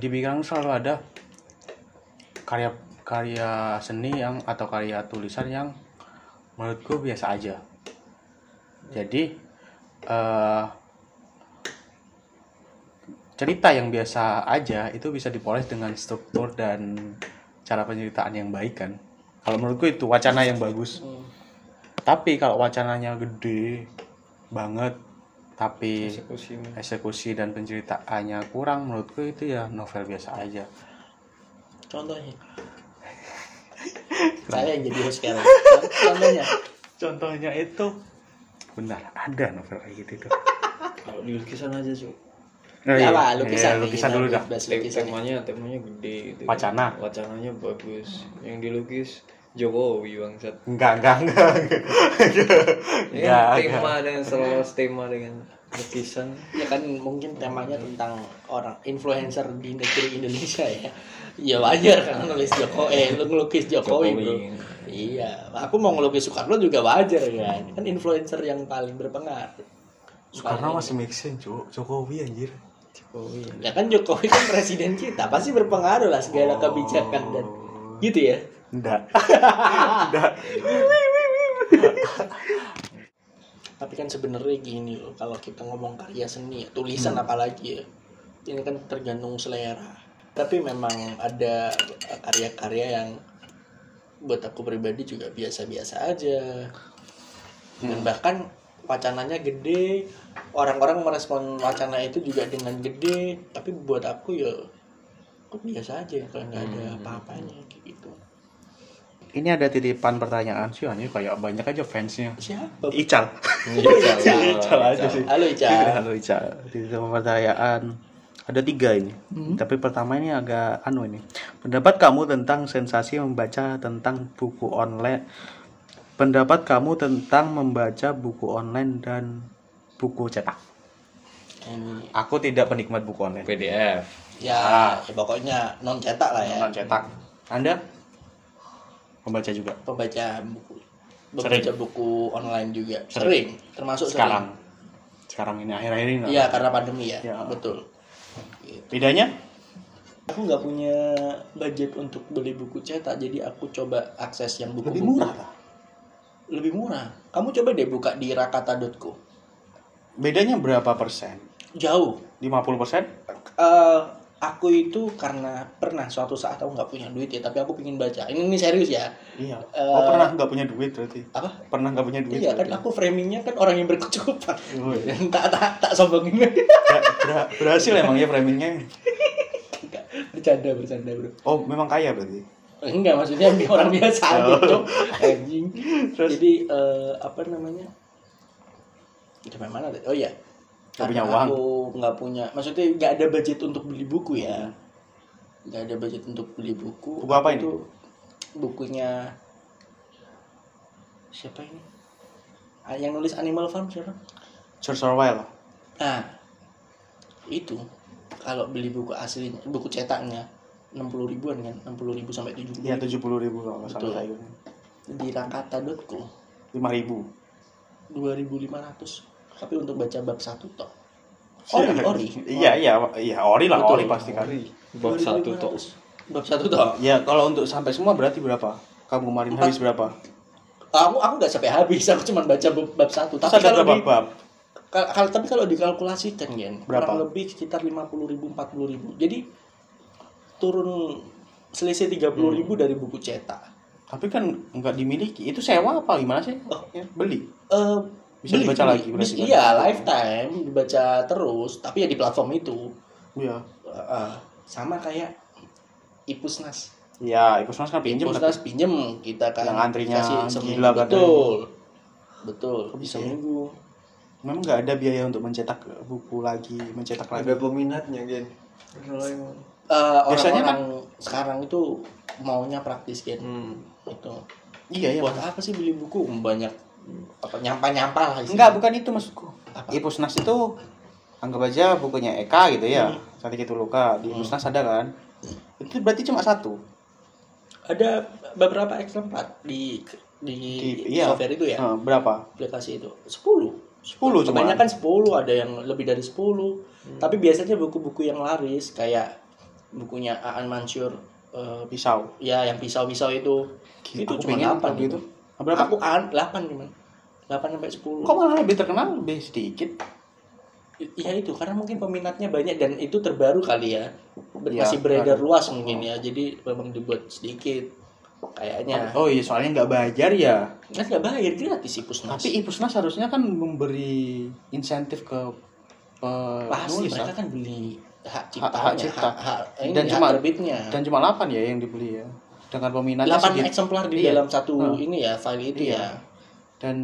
dibilang selalu ada karya karya seni yang atau karya tulisan yang menurutku biasa aja jadi eh cerita yang biasa aja itu bisa dipoles dengan struktur dan cara penceritaan yang baik kan kalau menurutku itu wacana yang bagus Hmm. tapi kalau wacananya gede banget tapi eksekusinya eksekusi dan penceritaannya kurang menurutku itu ya novel biasa aja contohnya saya yang jadi host sekarang contohnya contohnya itu benar ada novel kayak gitu tuh kalau di lukisan aja cuy Oh, iya. ya apa lukisan gitu Iya, nih, lukisan kita dulu dah bahas Tem- lukisan temanya temanya gede gitu Wacana. wacananya bagus yang dilukis Jokowi bangsat enggak enggak enggak enggak ya, enggak. tema dengan selalu tema dengan lukisan ya kan mungkin temanya tentang orang influencer di negeri Indonesia ya ya wajar kan nulis Jokowi eh lu ngelukis Jokowi, bro Jokowi. iya aku mau ngelukis Soekarno juga wajar kan kan influencer yang paling berpengaruh Soekarno masih make sense Cuk. Jokowi anjir Jokowi ya kan Jokowi kan presiden kita pasti berpengaruh lah Oh. segala kebijakan dan gitu ya enggak tapi kan sebenarnya gini loh kalau kita ngomong karya seni ya, tulisan apalagi ya ini kan tergantung selera tapi memang ada karya-karya yang buat aku pribadi juga biasa-biasa aja dan bahkan wacananya gede orang-orang merespon wacana itu juga dengan gede tapi buat aku ya aku biasa aja kalau nggak ada apa-apanya kayak gitu ini ada titipan pertanyaan sih anjir kayak banyak aja fansnya siapa Ical iya, Ical aja sih halo Ica Halo Ica, di tema pertanyaan ada tiga ini. Tapi pertama ini agak anu ini. Pendapat kamu tentang sensasi membaca tentang buku online. Pendapat kamu tentang membaca buku online dan buku cetak. ini Aku tidak penikmat buku iya. online. PDF ya, ya pokoknya non cetak lah ya Bukan cetak. Anda membaca juga pembaca buku pembaca Sering. buku online juga Sering. sering, termasuk sekarang. Sekarang ini akhir-akhir ini. sering. nggak? iya karena pandemi ya, Ya. betul Bedanya? aku nggak punya budget untuk beli buku cetak jadi aku coba akses yang buku Lebih murah. lah. lebih murah kamu coba deh buka di rakata.co Bedanya berapa persen? jauh 50 persen? Eh, aku itu karena pernah suatu saat aku nggak punya duit ya tapi aku pingin baca ini, ini serius ya Iya. Eh, oh pernah nggak punya duit berarti? apa Pernah nggak punya duit? iya kan berarti? aku framingnya kan orang yang berkecukupan Oh, iya. tak tak tak sombongin lagi Ber- ber- berhasil emang ya framingnya. Enggak, bercanda bercanda bro Oh memang kaya berarti. enggak maksudnya bi- orang biasa aja Cok. anjing Terus? jadi eh, apa namanya sampai mana tadi? oh iya Nggak punya Karena uang. aku nggak punya maksudnya nggak ada budget untuk beli buku ya nggak ada budget untuk beli buku Hmm. Buku apa ini? Itu bukunya siapa ini Ah, yang nulis Animal Farm siapa George Orwell. Nah, itu kalau beli buku aslinya, buku cetaknya 60 ribuan kan, 60 ribu sampai 70 Iya ribu. tujuh puluh ribu kalau nggak Betul. salah saya. Iya. Di rakata.co Lima ribu. 2500 tapi untuk baca bab satu toh. Ori, Iya. ori. Iya iya iya ori lah Betul. ori pasti kan. bab satu tok 2500. Bab satu toh. Ya kalau untuk sampai semua berarti berapa? Kamu kemarin Empat. habis berapa? Aku aku nggak sampai habis, aku cuma baca bab, bab satu. Terus Tapi ada kalau berapa di, bab? kal- kal- tapi kalau dikalkulasikan kan, Berapa? kurang lebih sekitar 50 ribu, 40 ribu. Jadi turun selisih 30 ribu Hmm. dari buku cetak. Tapi kan nggak dimiliki. Itu sewa apa gimana sih? Oh. Ya, Beli. Eh, Bisa dibaca lagi berarti Bisa- kan? iya lifetime dibaca terus tapi ya di platform itu Iya. Eh, eh, sama kayak ipusnas Iya, Ipusmas kan pinjem tapi ipusnas pinjem kita kan Yang antrinya seminggu. gila kan? betul betul Kok bisa ya? seminggu memang nggak ada biaya untuk mencetak buku lagi, mencetak lagi. ada peminatnya gen Eh, Biasanya kan- orang-orang sekarang itu maunya praktis gitu hmm. itu Iya iya. buat apa sih beli buku Hmm, banyak apa nyampa nyampa lah isinya. Enggak, bukan itu maksudku. Apa? Ipusnas itu anggap aja bukunya Eka gitu ya. Sakit itu luka di Hmm. Ipusnas ada kan? Itu berarti cuma satu. ada beberapa eksemplar di di, Di- iya. software itu ya Eh, berapa? aplikasi itu 10 10 cuma. Hmm. Kebanyakan 10, ada yang lebih dari 10. Tapi biasanya buku-buku yang laris kayak bukunya Aan Mansur eh, Pisau. ya yang pisau-pisau itu. itu Aku cuma pengen 8 waktu itu. gitu. Ah, Berapa? Aku Aan 8 cuman. 8 sampai 10. Kok malah lebih terkenal lebih sedikit? I- Iya itu karena mungkin peminatnya banyak dan itu terbaru kali ya. Ber- Iya, Masih beredar luas mungkin ya. Jadi memang dibuat sedikit kayaknya. Oh iya, soalnya nggak bayar ya. Kan nggak bayar gratis sih Pusnas. Tapi Ipusnas harusnya kan memberi insentif ke pasti penulis mereka kan? kan beli hak Hak- ciptanya, hak cipta. ini, Dan hak cuma- terbitnya. Dan cuma 8 ya yang dibeli ya. Dengan peminatnya 8 segitu. eksemplar di Iya. dalam satu Hmm. ini ya file itu Iya. ya. Dan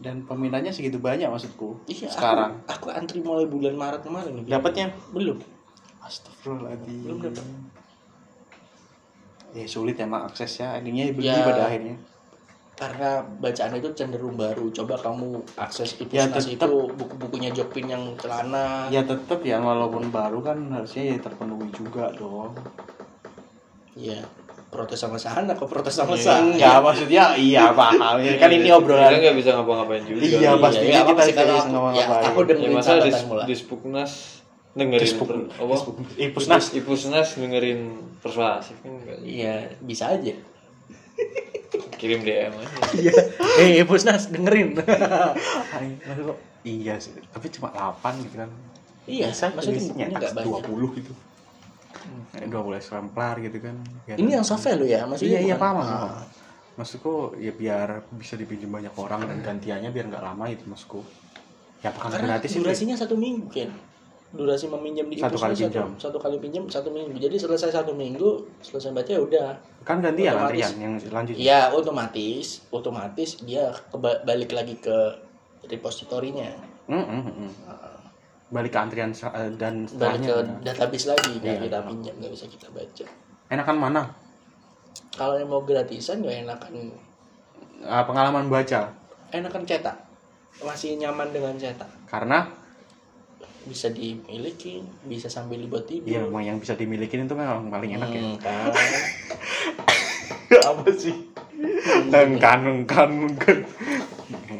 dan peminatnya segitu banyak maksudku. Iya. aku- Sekarang Aku, antri mulai bulan Maret kemarin. nih. dapatnya Belum. Astagfirullahaladzim. Belum dapat. Ya sulit emang aksesnya. Akhirnya dibeli Ya. pada akhirnya. Karena bacaan itu cenderung baru. Coba kamu akses di Ya, Pusnas tetep. itu buku-bukunya Jokpin yang celana. Ya tetap ya walaupun baru kan harusnya ya terpenuhi juga dong. Iya. Protes sama sana, kok protes sama Iya, sana. Enggak maksudnya iya paham. Ya, kan ini Kita obrolan. iya. nggak bisa ngapa-ngapain juga. Iya, Iya, pastinya nggak apa-apa kita sih kalau serius aku- ngomong ya, ngapain. aku Ya dengerin masalah catatan dis, mula. dispuknas dengerin Dispuk- per- apa? Ipusnas. Dis- Ipusnas dengerin persuasif kan nggak Iya, bisa aja. kirim DM aja. Iya. Eh, Pusnas dengerin. Ay, maksud lo, Iya sih, tapi cuma 8 gitu kan. iya, Bisa maksudnya isinya bukunya nggak banyak. 20 gitu. Eh, 20 eksemplar gitu kan. Biar- Ini yang software lo ya, maksudnya iya, iya bukan- paham. paham. Maksudku ya biar bisa dipinjam banyak orang dan gantiannya biar nggak lama itu maksudku. Ya apakah Karena gratis itu? durasinya satu minggu kan. Durasi meminjam di Satu Ipusnas kali satu- pinjam. Satu, kali pinjam satu minggu. Jadi selesai satu minggu, selesai baca ya udah. Kan gantian Otomatis. antrian yang lanjutnya. Iya, otomatis, otomatis dia keba- balik lagi ke repositorinya. Mm, mm, mm, mm. Balik ke antrian sa- eh, dan Balik ke setelahnya. database lagi, nggak Iya. kita pinjam, nggak bisa kita baca. Enakan kan mana? Kalau yang mau gratisan ya enakan Ah, pengalaman baca. enakan cetak. Masih nyaman dengan cetak. Karena Bisa dimiliki, bisa sambil dibuat tidur. ya memang yang bisa dimiliki itu memang paling enak ya. Hmm, kan. apa sih Hmm. engkan engkan engkan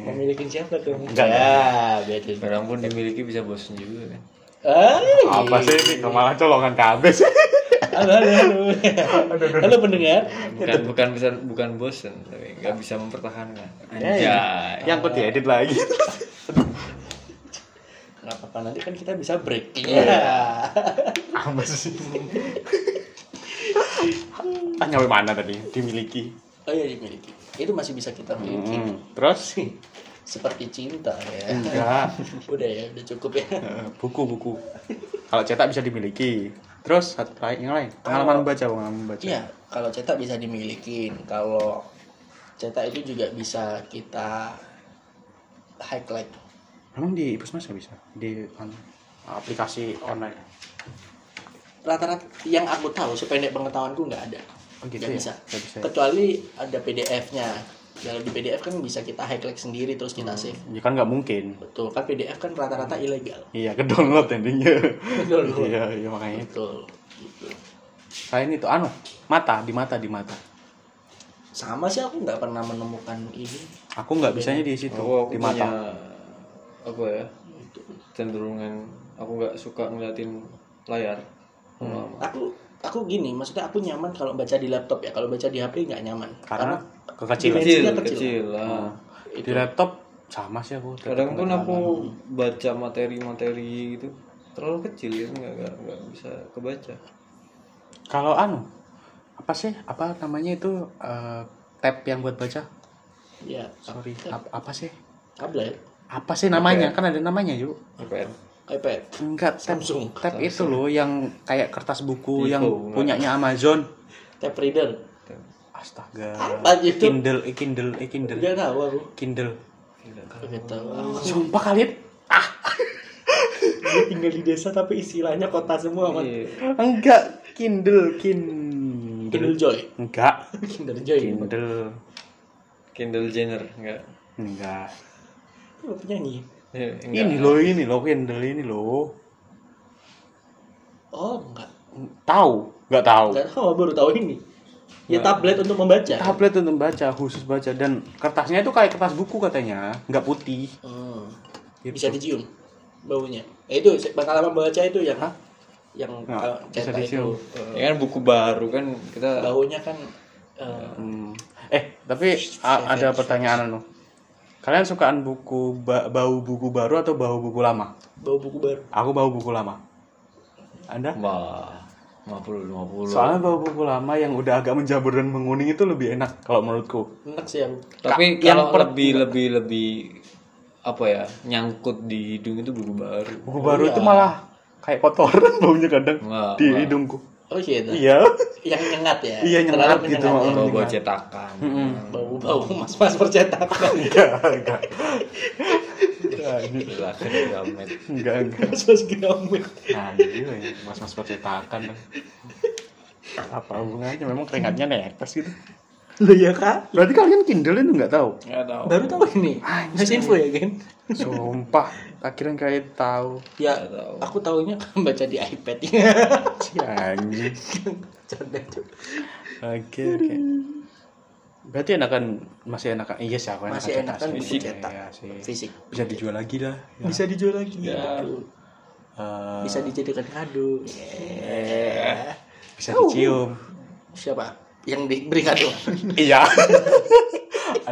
Memiliki siapa dong? Enggak, Ya, biar tidur. Barang pun dimiliki bisa bosen juga kan. Hai. apa sih ini malah colongan kabeh sih Halo, halo, halo. Halo pendengar. Bukan bukan bisa bukan bosen tapi nggak bisa mempertahankan. Anjay. yang kok diedit lagi Nggak apa-apa, nanti kan kita bisa break. Iya. apa sih ah nyampe mana tadi dimiliki Oh iya dimiliki. Itu masih bisa kita miliki. hmm. terus sih Seperti cinta ya. enggak Udah ya, udah cukup ya. Eh, buku buku kalau cetak bisa dimiliki terus satu lain yang lain pengalaman baca pengalaman baca Iya, kalau cetak bisa dimiliki. Kalau cetak itu juga bisa kita highlight. emang di pusmas nggak bisa di an- aplikasi online Rata-rata yang aku tahu sependek pengetahuanku nggak ada. Oh, gitu Nggak ya? bisa. Nggak bisa ya? Kecuali ada PDF-nya. Kalau di PDF kan bisa kita highlight sendiri terus kita save. ya kan nggak mungkin Betul, kan PDF kan rata-rata ilegal. iya ke download endingnya Betul. iya iya makanya Betul. Gitu. Selain itu anu, mata di mata di mata. Sama sih aku nggak pernah menemukan ini. Aku nggak bisanya di situ Oh, Aku, aku di Oh, punya mata. apa ya cenderungan aku nggak suka ngeliatin layar Hmm. lama-lama. Aku aku gini, maksudnya aku nyaman kalau baca di laptop ya. Kalau baca di HP nggak nyaman. Karena Dimensi- kekecilan. kecil kecil. kecil lah. Hmm. Di laptop sama sih aku. Iya. kadang pun aku baca materi-materi gitu terlalu kecil ya nggak nggak nggak bisa kebaca Kalau anu apa sih? Apa namanya itu eh, tab yang buat baca? Ya, Sorry, ap- apa sih? tablet, Apa sih namanya? Kan ada namanya yuk. apa ya iPad, Enggak, tab, Samsung, tab itu loh yang kayak kertas buku Iya, yang enggak. punyanya Amazon. tab reader. Astaga. Apa gitu? Kindle, eh, Kindle, eh, Kindle, Nggak tahu aku. Gitu. Kindle. Iya, Nggak tahu. Aku Sumpah kalian Dia tinggal di desa tapi istilahnya kota semua, Man. Iya. Enggak, Kindle, Kindle. Kindle Joy. Enggak, Kindle Joy. Kindle. Kindle Jenner nggak Enggak. Lu penyanyi. Ya, nggak. Ini loh, ini loh, Kindle ini loh. Oh, enggak. Oh, Tahu? Enggak tahu. Enggak tahu, baru tahu ini. ya Nah. tablet untuk membaca tablet untuk baca khusus baca dan kertasnya itu kayak kertas buku katanya nggak putih Hmm. Gitu. bisa dicium baunya ya itu bakal lama membaca itu yang Hah? yang Nah, kalau bisa cetak dicium. itu eh, ya kan buku baru kan kita baunya kan eh, Hmm. eh tapi a- ada pertanyaan loh kalian sukaan buku ba- bau buku baru atau bau buku lama bau buku baru aku bau buku lama anda wah 50 50 soalnya bau buku lama yang udah agak menjabur dan menguning itu lebih enak kalau menurutku enak sih aku tapi Ka- yang kalau per- lebih lebih lebih apa ya nyangkut di hidung itu buku baru buku baru itu malah kayak kotoran baunya kadang Wah, di wah. hidungku oh shit iya yang nyengat ya Iya, nyengat Terlalu gitu. menyengat bawa bawa cetakan ya. bau bau mas mas percetakan Iya. enggak enggak Anjir. Gila, kan gamet. enggak enggak mas mas gamet Nah, jadi lo ya, mas-mas percetakan. Apa hubungannya? Memang keringatnya netes gitu. lo ya kak Berarti kalian Kindle itu nggak tahu? nggak tahu baru tahu ini Mas info ya kan Sumpah, akhirnya kayak tahu. ya Nggak tahu. aku taunya kan baca di iPad Si anjing. Canda, cuy. Oke, oke. Berarti enakan masih enakan. Iya sih aku enakan. masih enak kan buku fisik. cetak Iya sih. fisik Bisa dijual lagi lah. Ya. bisa dijual lagi Ya. Betul. Eh, bisa dijadikan kado Iya. Yeah. bisa dicium. siapa yang diberi kado Iya.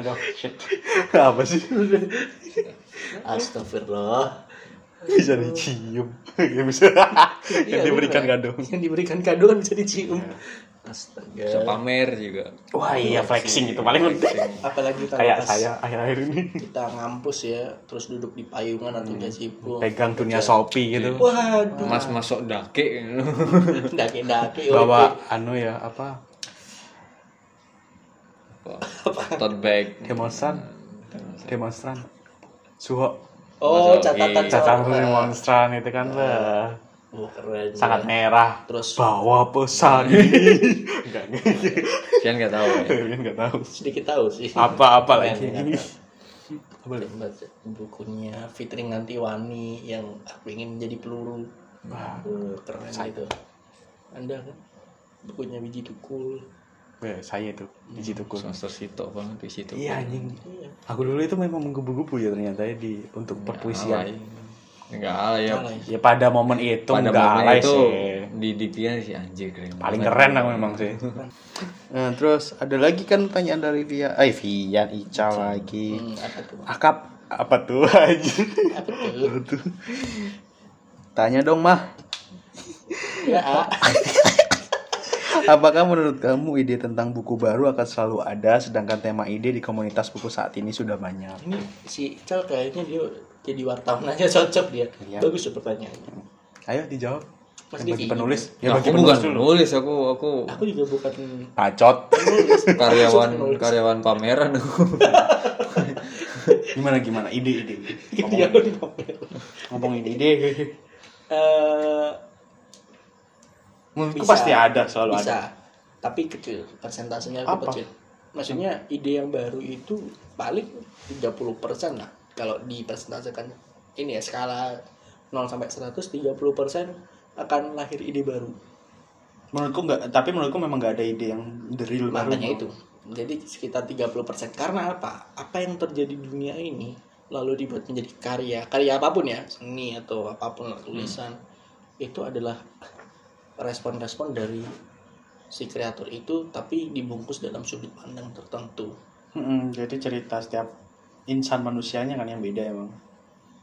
Aduh, shit. Apa sih? astagfirullah Bisa dicium. Ya bisa. Yang Iya, diberikan kado. beneran. Iya. yang diberikan kado kan bisa dicium bisa astaga pamer juga Wah iya flexing itu paling Flexing. apalagi kalau kayak pas saya akhir-akhir ini kita ngampus ya terus duduk di payungan atau gazebo pegang dunia Shopee Hmm. gitu waduh mas masuk dake daki daki bawa anu ya apa tote bag demonstran Iya. demonstran suho oh Mas, catatan oke. catatan corak. demonstran itu kan lah oh, keren sangat ya. merah Terus- bawa pesan enggak kian nggak tahu ya enggak enggak tahu sedikit tahu sih apa-apa Keren, lagi keren. ini Baca bukunya Fitri Ngantiwani yang aku ingin menjadi peluru Wah, Eh, keren itu anda kan bukunya biji tukul eh, saya itu di situ kur semester situ banget di situ iya anjing Iya. aku dulu itu memang menggebu-gebu ya ternyata ya di untuk perpuisian enggak alay ya Alay. iya. ya pada momen itu pada enggak momen alay itu sih di di pian sih anjir keren paling banget. keren aku memang sih nah, terus ada lagi kan pertanyaan dari Via eh Via Ica lagi Hmm, apa tuh akap apa tuh aja apa tuh tanya dong mah ya ah. apakah menurut kamu ide tentang buku baru akan selalu ada sedangkan tema ide di komunitas buku saat ini sudah banyak ini si Ical kayaknya dia jadi wartawan aja cocok dia Iya. bagus tuh pertanyaannya ayo dijawab Yang Mas bagi Diki. penulis ya Nah, bagi aku penulis bukan dulu nulis aku aku aku juga bukan pacot penulis karyawan Aku bukan karyawan pameran aku gimana gimana ide ide penulis. Iya, Dia ngomong, pun ngomel. ngomong ide ide Eh, menurutku Bisa. pasti ada selalu bisa ada tapi kecil persentasenya Apa? aku kecil maksudnya ide yang baru itu paling 30% lah kalau dipresentasikan ini ya skala 0 sampai 100 30% akan lahir ide baru menurutku nggak tapi menurutku memang nggak ada ide yang dari baru makanya itu jadi sekitar 30% karena apa apa yang terjadi di dunia ini lalu dibuat menjadi karya karya apapun ya seni atau apapun lah, tulisan itu adalah respon-respon dari si kreator itu tapi dibungkus dalam sudut pandang tertentu Mm-mm, jadi cerita setiap insan manusianya kan yang beda emang.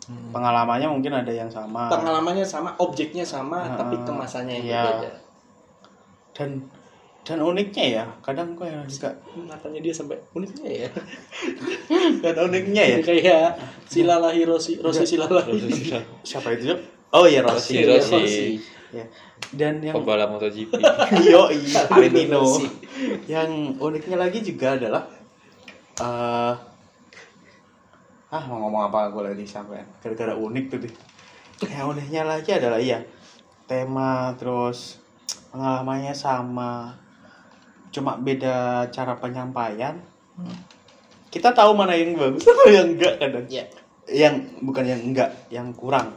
Hmm. Pengalamannya mungkin ada yang sama. pengalamannya sama objeknya Ah, sama tapi kemasannya yang iya. berbeda Dan dan uniknya ya, kadang kok yang suka matanya dia sampai uniknya ya dan uniknya ya. kayak silala hiroshi Roshi silala Iya, Siapa itu? Jok? Oh ya Rossi, Rossi. Rossi. iya. Ya. Dan yang pembalap MotoGP Yoi, Valentino. Rossi. yang uniknya lagi juga adalah eh ah mau ngomong apa gue lagi sampai gara-gara unik tuh deh yang uniknya lagi adalah iya tema terus pengalamannya sama cuma beda cara penyampaian kita tahu mana yang bagus atau yang enggak kadang ya yang bukan yang enggak yang kurang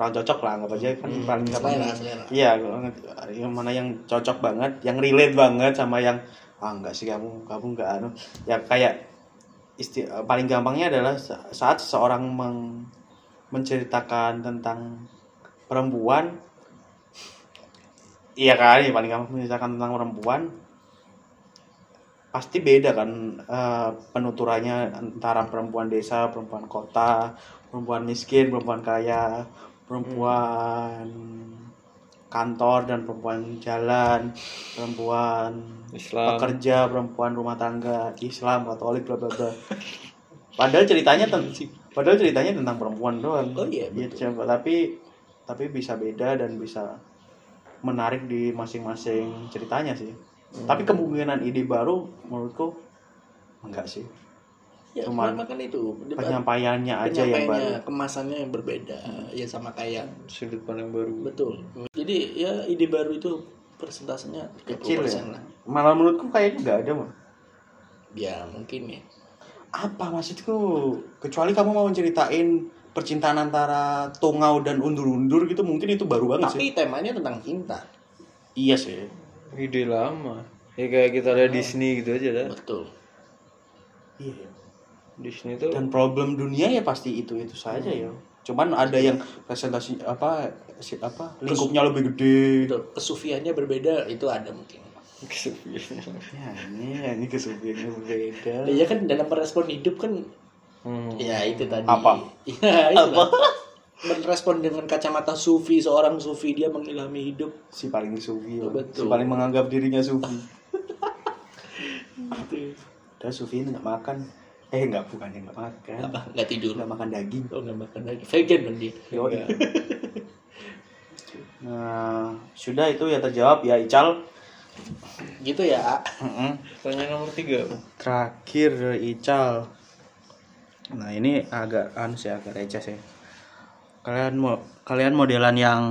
kurang cocok lah nggak aja kan Hmm, paling selera, selera. iya kalau nggak- yang mana yang cocok banget yang relate banget sama yang ah enggak sih kamu kamu enggak anu ya kayak isti paling gampangnya adalah sa- saat seseorang meng- menceritakan tentang perempuan iya kan ya paling gampang menceritakan tentang perempuan pasti beda kan eh, penuturannya antara perempuan desa perempuan kota perempuan miskin perempuan kaya perempuan kantor dan perempuan jalan perempuan Islam pekerja perempuan rumah tangga Islam Katolik bla bla bla padahal ceritanya tentang padahal ceritanya tentang perempuan doang Oh iya, Iya, betul. coba. tapi tapi bisa beda dan bisa menarik di masing-masing ceritanya sih Hmm. tapi kemungkinan ide baru menurutku enggak sih ya, cuman cuman kan itu debat- penyampaiannya aja yang baru penyampaiannya kemasannya yang berbeda ya sama kayak sudut pandang baru betul jadi ya ide baru itu persentasenya 30% Kecil ya? lah malah menurutku kayaknya nggak ada mah ya mungkin ya apa maksudku kecuali kamu mau ceritain percintaan antara tongau dan undur-undur gitu mungkin itu baru banget sih tapi temanya tentang cinta Iya sih. ide lama ya kayak kita lihat Disney gitu aja dah betul Iya. Disney tuh Dan problem dunia ya pasti itu itu saja ya. Cuman ada yang presentasi apa si, apa lingkupnya lebih gede. betul kesufiannya berbeda itu ada mungkin Ya, ini ini kesulitannya beda. Nah, ya kan dalam merespon hidup kan hmm. ya itu tadi Apa? ya, itu apa merespon dengan kacamata sufi seorang sufi dia mengilhami hidup Si paling sufi. ya. Si Betul. paling menganggap dirinya sufi. gitu Udah sufi ini nggak makan. Eh nggak bukan nggak makan. apa nggak tidur Nggak makan daging. oh nggak makan lagi vegan dong dia Yo. Nah, sudah itu ya terjawab ya Ical. gitu ya A. Mm-mm. pertanyaan nomor tiga terakhir dari Ical nah ini agak anu sih agak receh sih kalian mau kalian modelan yang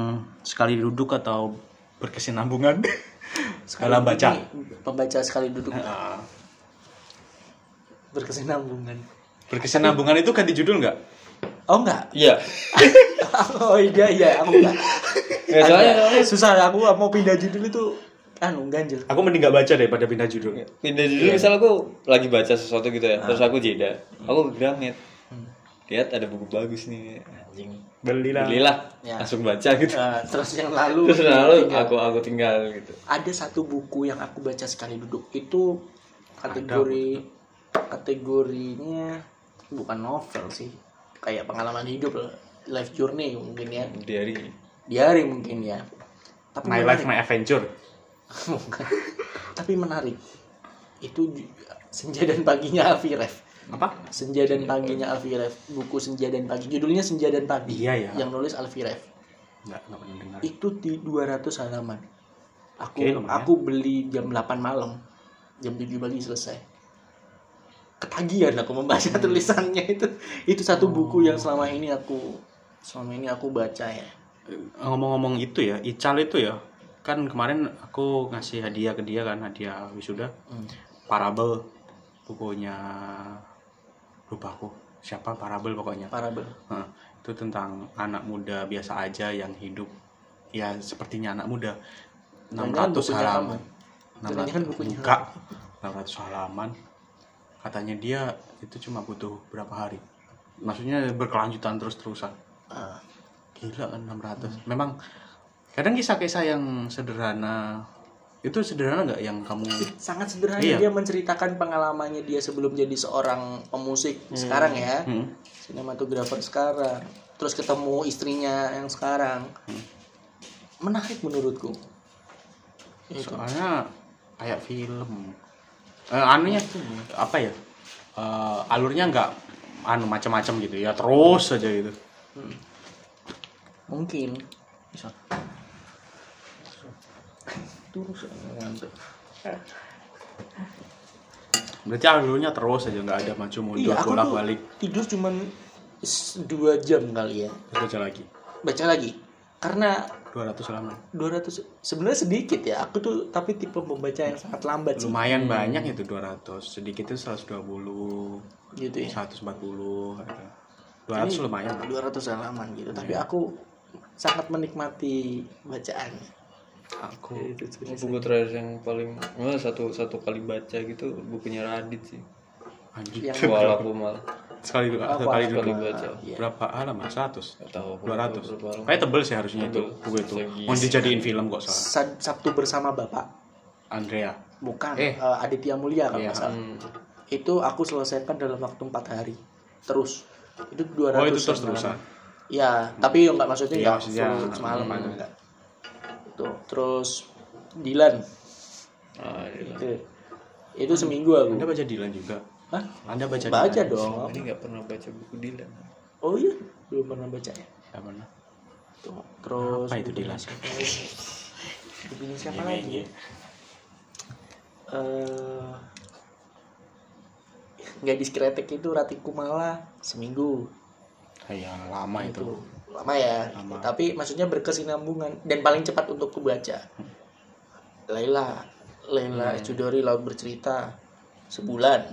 sekali duduk atau berkesinambungan sekala baca Ini pembaca sekali duduk Nah, berkesinambungan berkesinambungan itu ganti judul nggak oh enggak iya oh iya iya aku enggak nggak Ya, soalnya Agak- susah aku mau pindah judul itu anu ganjil aku mending nggak baca daripada pindah judul pindah judul misal aku lagi baca sesuatu gitu ya terus aku jeda aku ke Gramet lihat ada buku bagus nih anjing belilah belilah Ya. langsung baca gitu Eh, terus yang lalu terus lalu tinggal. aku aku tinggal gitu ada satu buku yang aku baca sekali duduk itu kategori kategorinya bukan novel sih kayak pengalaman hidup lah life journey mungkin ya diary diary mungkin ya tapi my menarik. life my adventure Bukan. tapi menarik itu ju- senja dan paginya Alfiref apa senja dan Iya, paginya Alfiref buku senja dan pagi judulnya senja dan pagi iya ya yang nulis Alfiref nggak nggak pernah dengar itu di 200 halaman aku Oke, lumayan. aku beli jam 8 malam jam 7 pagi selesai ketagihan aku membaca Hmm. tulisannya itu itu satu Oh. buku yang selama ini aku selama ini aku baca ya ngomong-ngomong itu ya Ical itu ya kan kemarin aku ngasih hadiah ke dia kan hadiah wisuda Hmm. Parabel bukunya lupa aku siapa Parabel pokoknya parabel Nah, itu tentang anak muda biasa aja yang hidup ya sepertinya anak muda 600 Jangan-jangan bukunya halaman kan kamu. Jangan-jangan bukunya 600 enggak 600 halaman katanya dia itu cuma butuh berapa hari maksudnya berkelanjutan terus-terusan Ah, Gila kan Hmm. 600. Memang kadang kisah-kisah yang sederhana itu sederhana nggak yang kamu sangat sederhana Iya. dia menceritakan pengalamannya dia sebelum jadi seorang pemusik sekarang ya Hmm. sinematografer sekarang terus ketemu istrinya yang sekarang Hmm. menarik menurutku Itu. soalnya kayak film eh, anunya apa ya Eh, alurnya nggak anu macam-macam gitu ya terus aja gitu mungkin bisa terus berarti alurnya terus aja nggak ada maju mundur iya aku bolak tuh balik tidur cuman s- dua jam kali ya terus aja lagi baca lagi karena 200 halaman 200 sebenarnya sedikit ya aku tuh tapi tipe pembaca yang sangat lambat sih lumayan banyak itu 200 sedikit itu 120 gitu ya 140 ada. 200 lumayan Iya. 200 halaman gitu tapi aku sangat menikmati bacaan aku buku terakhir yang paling wah, satu satu kali baca gitu bukunya Radit sih Anjir. Yang Kuala Kumal Sekali dua, sekali Iya. sekali dua. baca Iya. Berapa Ah, halaman? 100. Gak tahu 200. berapa Kayak tebel sih harusnya itu Tebel. buku itu. Lagi- Mau dijadiin film kok soalnya. Sa- Sabtu bersama Bapak Andrea. bukan Eh. eh, Aditya Mulia kalau Iya. nggak salah. Hmm. Itu aku selesaikan dalam waktu empat hari terus. Itu Oh, 200 itu terus-terusan. Ya, tapi nggak maksudnya Iya, nggak maksudnya full semalam hmm. enggak. Itu. Terus Dilan. Ah, iya. Itu, itu seminggu aku. Anda baca Dilan juga? Hah? Anda baca Baca Dilan? dong. Selama ini nggak pernah baca buku Dylan Oh iya, belum pernah baca ya. Nggak pernah. Tuh. Terus Apa itu Dilan? Bukunya siapa lagi? ya? Eh Gadis Kretek itu Ratikumala seminggu Ya, lama itu. itu lama ya Lama. tapi maksudnya berkesinambungan dan paling cepat untuk kubaca Laila Laila Cudori laut bercerita sebulan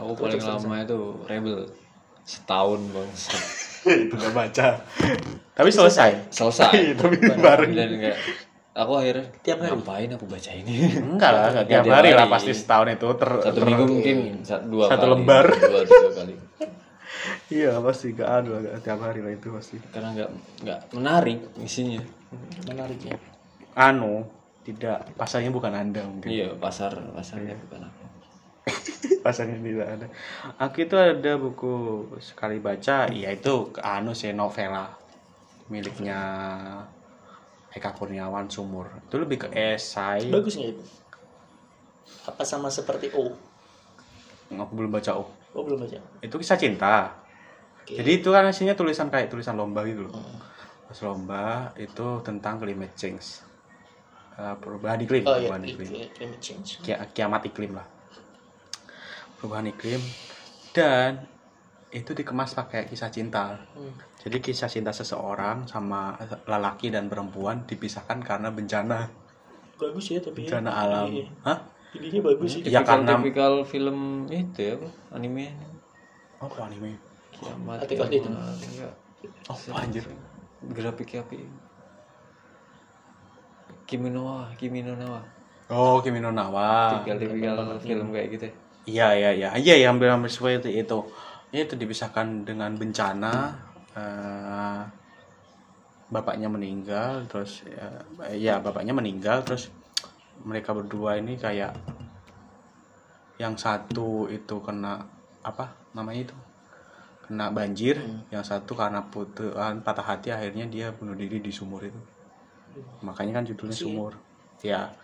aku paling lama itu Rebel setahun bang itu nggak baca. Tapi selesai. selesai Tapi dan nggak aku akhirnya Tiap hari. ngapain aku baca ini Enggak lah, enggak tiap tiap hari lah hari. pasti setahun itu ter satu ter- minggu mungkin sa- dua Satu kali, lembar. dua tiga kali Iya, pasti enggak ada lah, nggak tiap hari lah itu pasti. karena nggak nggak menarik isinya menarik ya Anu, tidak pasarnya bukan Anda mungkin. iya pasar pasarnya bukan aku Pasarnya tidak ada. Aku itu ada buku sekali baca, yaitu anu sih novela miliknya Eka Kurniawan Sumur. Itu lebih ke esai. Iya. bagus nggak itu apa sama seperti O Aku belum baca oh. Oh belum baca Itu kisah cinta. Oke. Jadi itu kan hasilnya tulisan kayak tulisan lomba gitu loh. Hmm. Pas lomba itu tentang climate change. Eh, perubahan iklim, oh iya perubahan iklim. itu- climate change Kia- kiamat iklim lah. Perubahan iklim dan itu dikemas pakai kisah cinta. Hmm. Jadi kisah cinta seseorang sama lelaki dan perempuan dipisahkan karena bencana, bagus ya tapi bencana alam. Iya. Hah? ininya bagus sih Ya, karena- tipikal film itu ya apa? anime Oh, kok anime. kiamat Tapi kalau itu- enggak Oh, anjir. grafik api Kimi no wa Kimi no na wa Oh, Kimi no Na wa. tipikal tipikal film kayak gitu ya. Iya iya iya iya ya, hampir hampir seperti itu itu itu dipisahkan dengan bencana eh, bapaknya meninggal terus eh, ya bapaknya meninggal terus mereka berdua ini kayak yang satu itu kena apa namanya itu kena banjir yang satu karena putusan patah hati akhirnya dia bunuh diri di sumur itu makanya kan judulnya sumur ya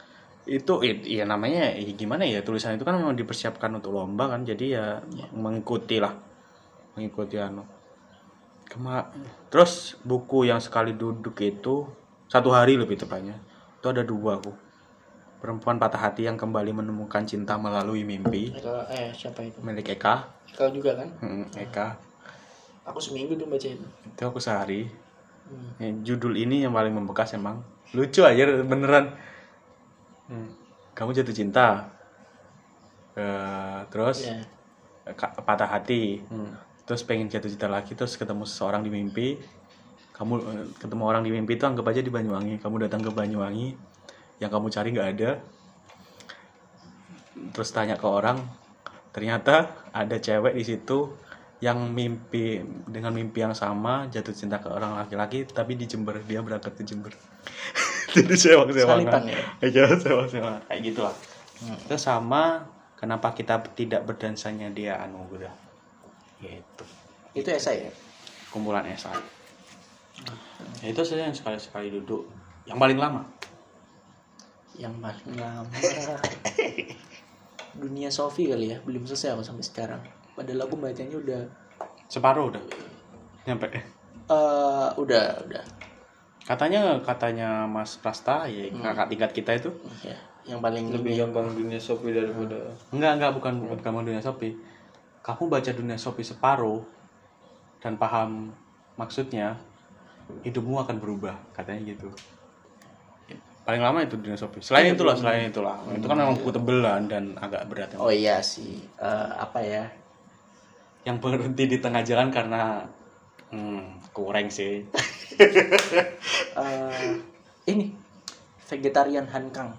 itu it- ya namanya ya gimana ya tulisan itu kan memang dipersiapkan untuk lomba kan jadi ya mengikuti lah mengikuti anu Kema terus buku yang sekali duduk itu satu hari lebih tepatnya itu ada dua aku perempuan patah hati yang kembali menemukan cinta melalui mimpi Eka- eh siapa itu milik Eka Eka juga kan Hmm, Eka aku seminggu tuh baca itu itu aku sehari Hmm. Ya, judul ini yang paling membekas emang lucu aja beneran Hmm, kamu jatuh cinta Eh, terus ya eh, ka- patah hati Hmm. terus pengen jatuh cinta lagi terus ketemu seseorang di mimpi kamu eh, ketemu orang di mimpi itu anggap aja di Banyuwangi kamu datang ke Banyuwangi yang kamu cari nggak ada terus tanya ke orang ternyata ada cewek di situ yang mimpi dengan mimpi yang sama jatuh cinta ke orang laki-laki tapi di Jember dia berangkat ke Jember jadi Salipan sewang-sewangan ya? Iya, sewang-sewangan kayak gitu lah terus sama kenapa kita tidak berdansanya dia anu udah gitu itu esai ya kumpulan esai ya, itu saja yang sekali sekali duduk yang paling lama yang paling lama dunia Sofi kali ya belum selesai aku sampai sekarang padahal aku bacanya udah separuh udah nyampe eh udah udah katanya katanya Mas Prasta ya kakak tingkat kita itu ya yang paling lebih gampang dunia Shopee daripada enggak enggak bukan bukan kamu dunia sopi kamu baca dunia sopi separuh dan paham maksudnya hidupmu akan berubah katanya gitu paling lama itu dunia sopi selain itulah selain itulah itu kan memang buku tebelan dan agak berat oh iya sih Eh, apa ya yang berhenti di tengah jalan karena hmm, kurang sih Eh, ini vegetarian hankang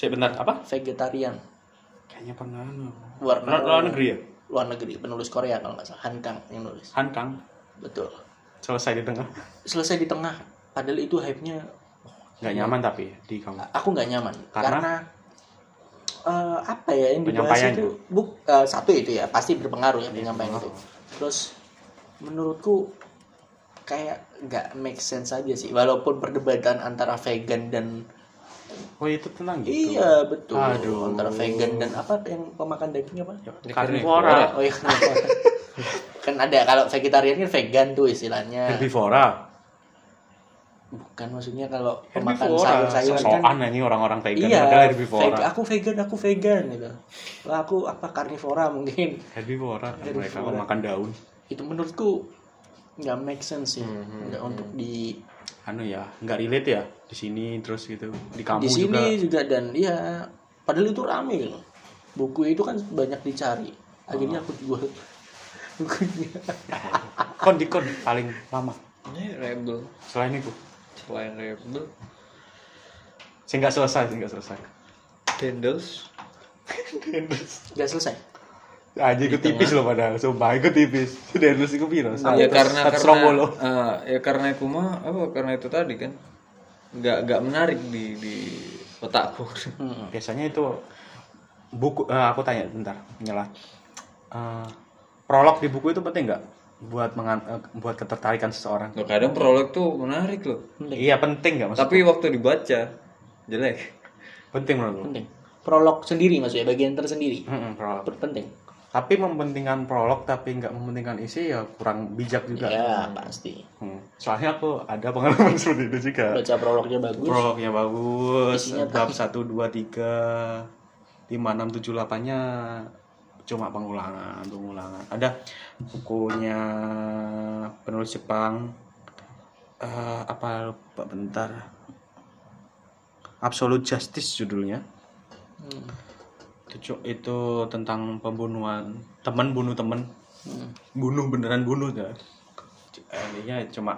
Sebentar, apa? vegetarian Kayaknya pernah. no. anu. luar Luar, luar negeri ya? luar negeri penulis Korea kalau nggak salah hankang yang nulis Hankang. betul Selesai di tengah. selesai di tengah padahal itu hype nya Gak nyaman tapi di kamu. aku nggak nyaman Karena? karena, eh, apa ya yang dibahas Penyampaian Iya. itu buk eh, satu itu ya pasti berpengaruh ya penyampaian itu terus menurutku kayak nggak make sense aja sih walaupun perdebatan antara vegan dan Oh itu tenang gitu. iya betul Aduh. antara vegan dan apa yang pemakan daging apa Karnivora. oh iya kenapa? kan ada kalau vegetarian kan vegan tuh istilahnya Herbivora. bukan maksudnya kalau pemakan Herbivora. sayur-sayuran kan Sosokan anjing orang-orang vegan. iya Padahal veg- herbivora. aku vegan aku vegan gitu lah aku apa karnivora mungkin Herbivora. Herbivora. Mereka makan daun. itu menurutku nggak make sense sih Hmm, Nggak untuk di Anu ya, nggak relate ya di sini terus gitu. Di kamu di juga. sini juga. dan ya padahal itu rame loh buku itu kan banyak dicari Hmm. akhirnya aku jual bukunya Kon di kon paling lama. Ini rebel. Selain itu. Selain rebel, Saya nggak selesai, saya nggak selesai. Dendels. nggak selesai Aja ikut Gitu, tipis loh padahal, sumpah ikut tipis. Denus ikut piro? Nah, ya satu karena karena rombolo. ah, ya karena aku mah apa karena itu tadi kan nggak nggak menarik di di otakku Hmm. Biasanya itu buku eh, aku tanya bentar, nyala. Eh, prolog di buku itu penting nggak buat mengan, eh, buat ketertarikan seseorang? Loh, kadang prolog tuh menarik loh Iya penting nggak maksud? tapi waktu dibaca jelek Penting menurut penting prolog sendiri maksudnya bagian tersendiri Mm-mm, prolog. penting Tapi mementingkan prolog tapi nggak mementingkan isi ya kurang bijak juga. ya pasti Hmm. Soalnya aku ada pengalaman seperti itu juga. baca prolognya bagus Prolognya bagus, Isinya bab 1, 2, 3, 5, 6, 7, 8 nya cuma pengulangan, pengulangan. Ada bukunya penulis Jepang, eh, apa lupa bentar, Absolute Justice judulnya. Hmm. Itu, cu- itu tentang pembunuhan, temen bunuh temen, Hmm. bunuh beneran bunuh ya. C- Intinya cuma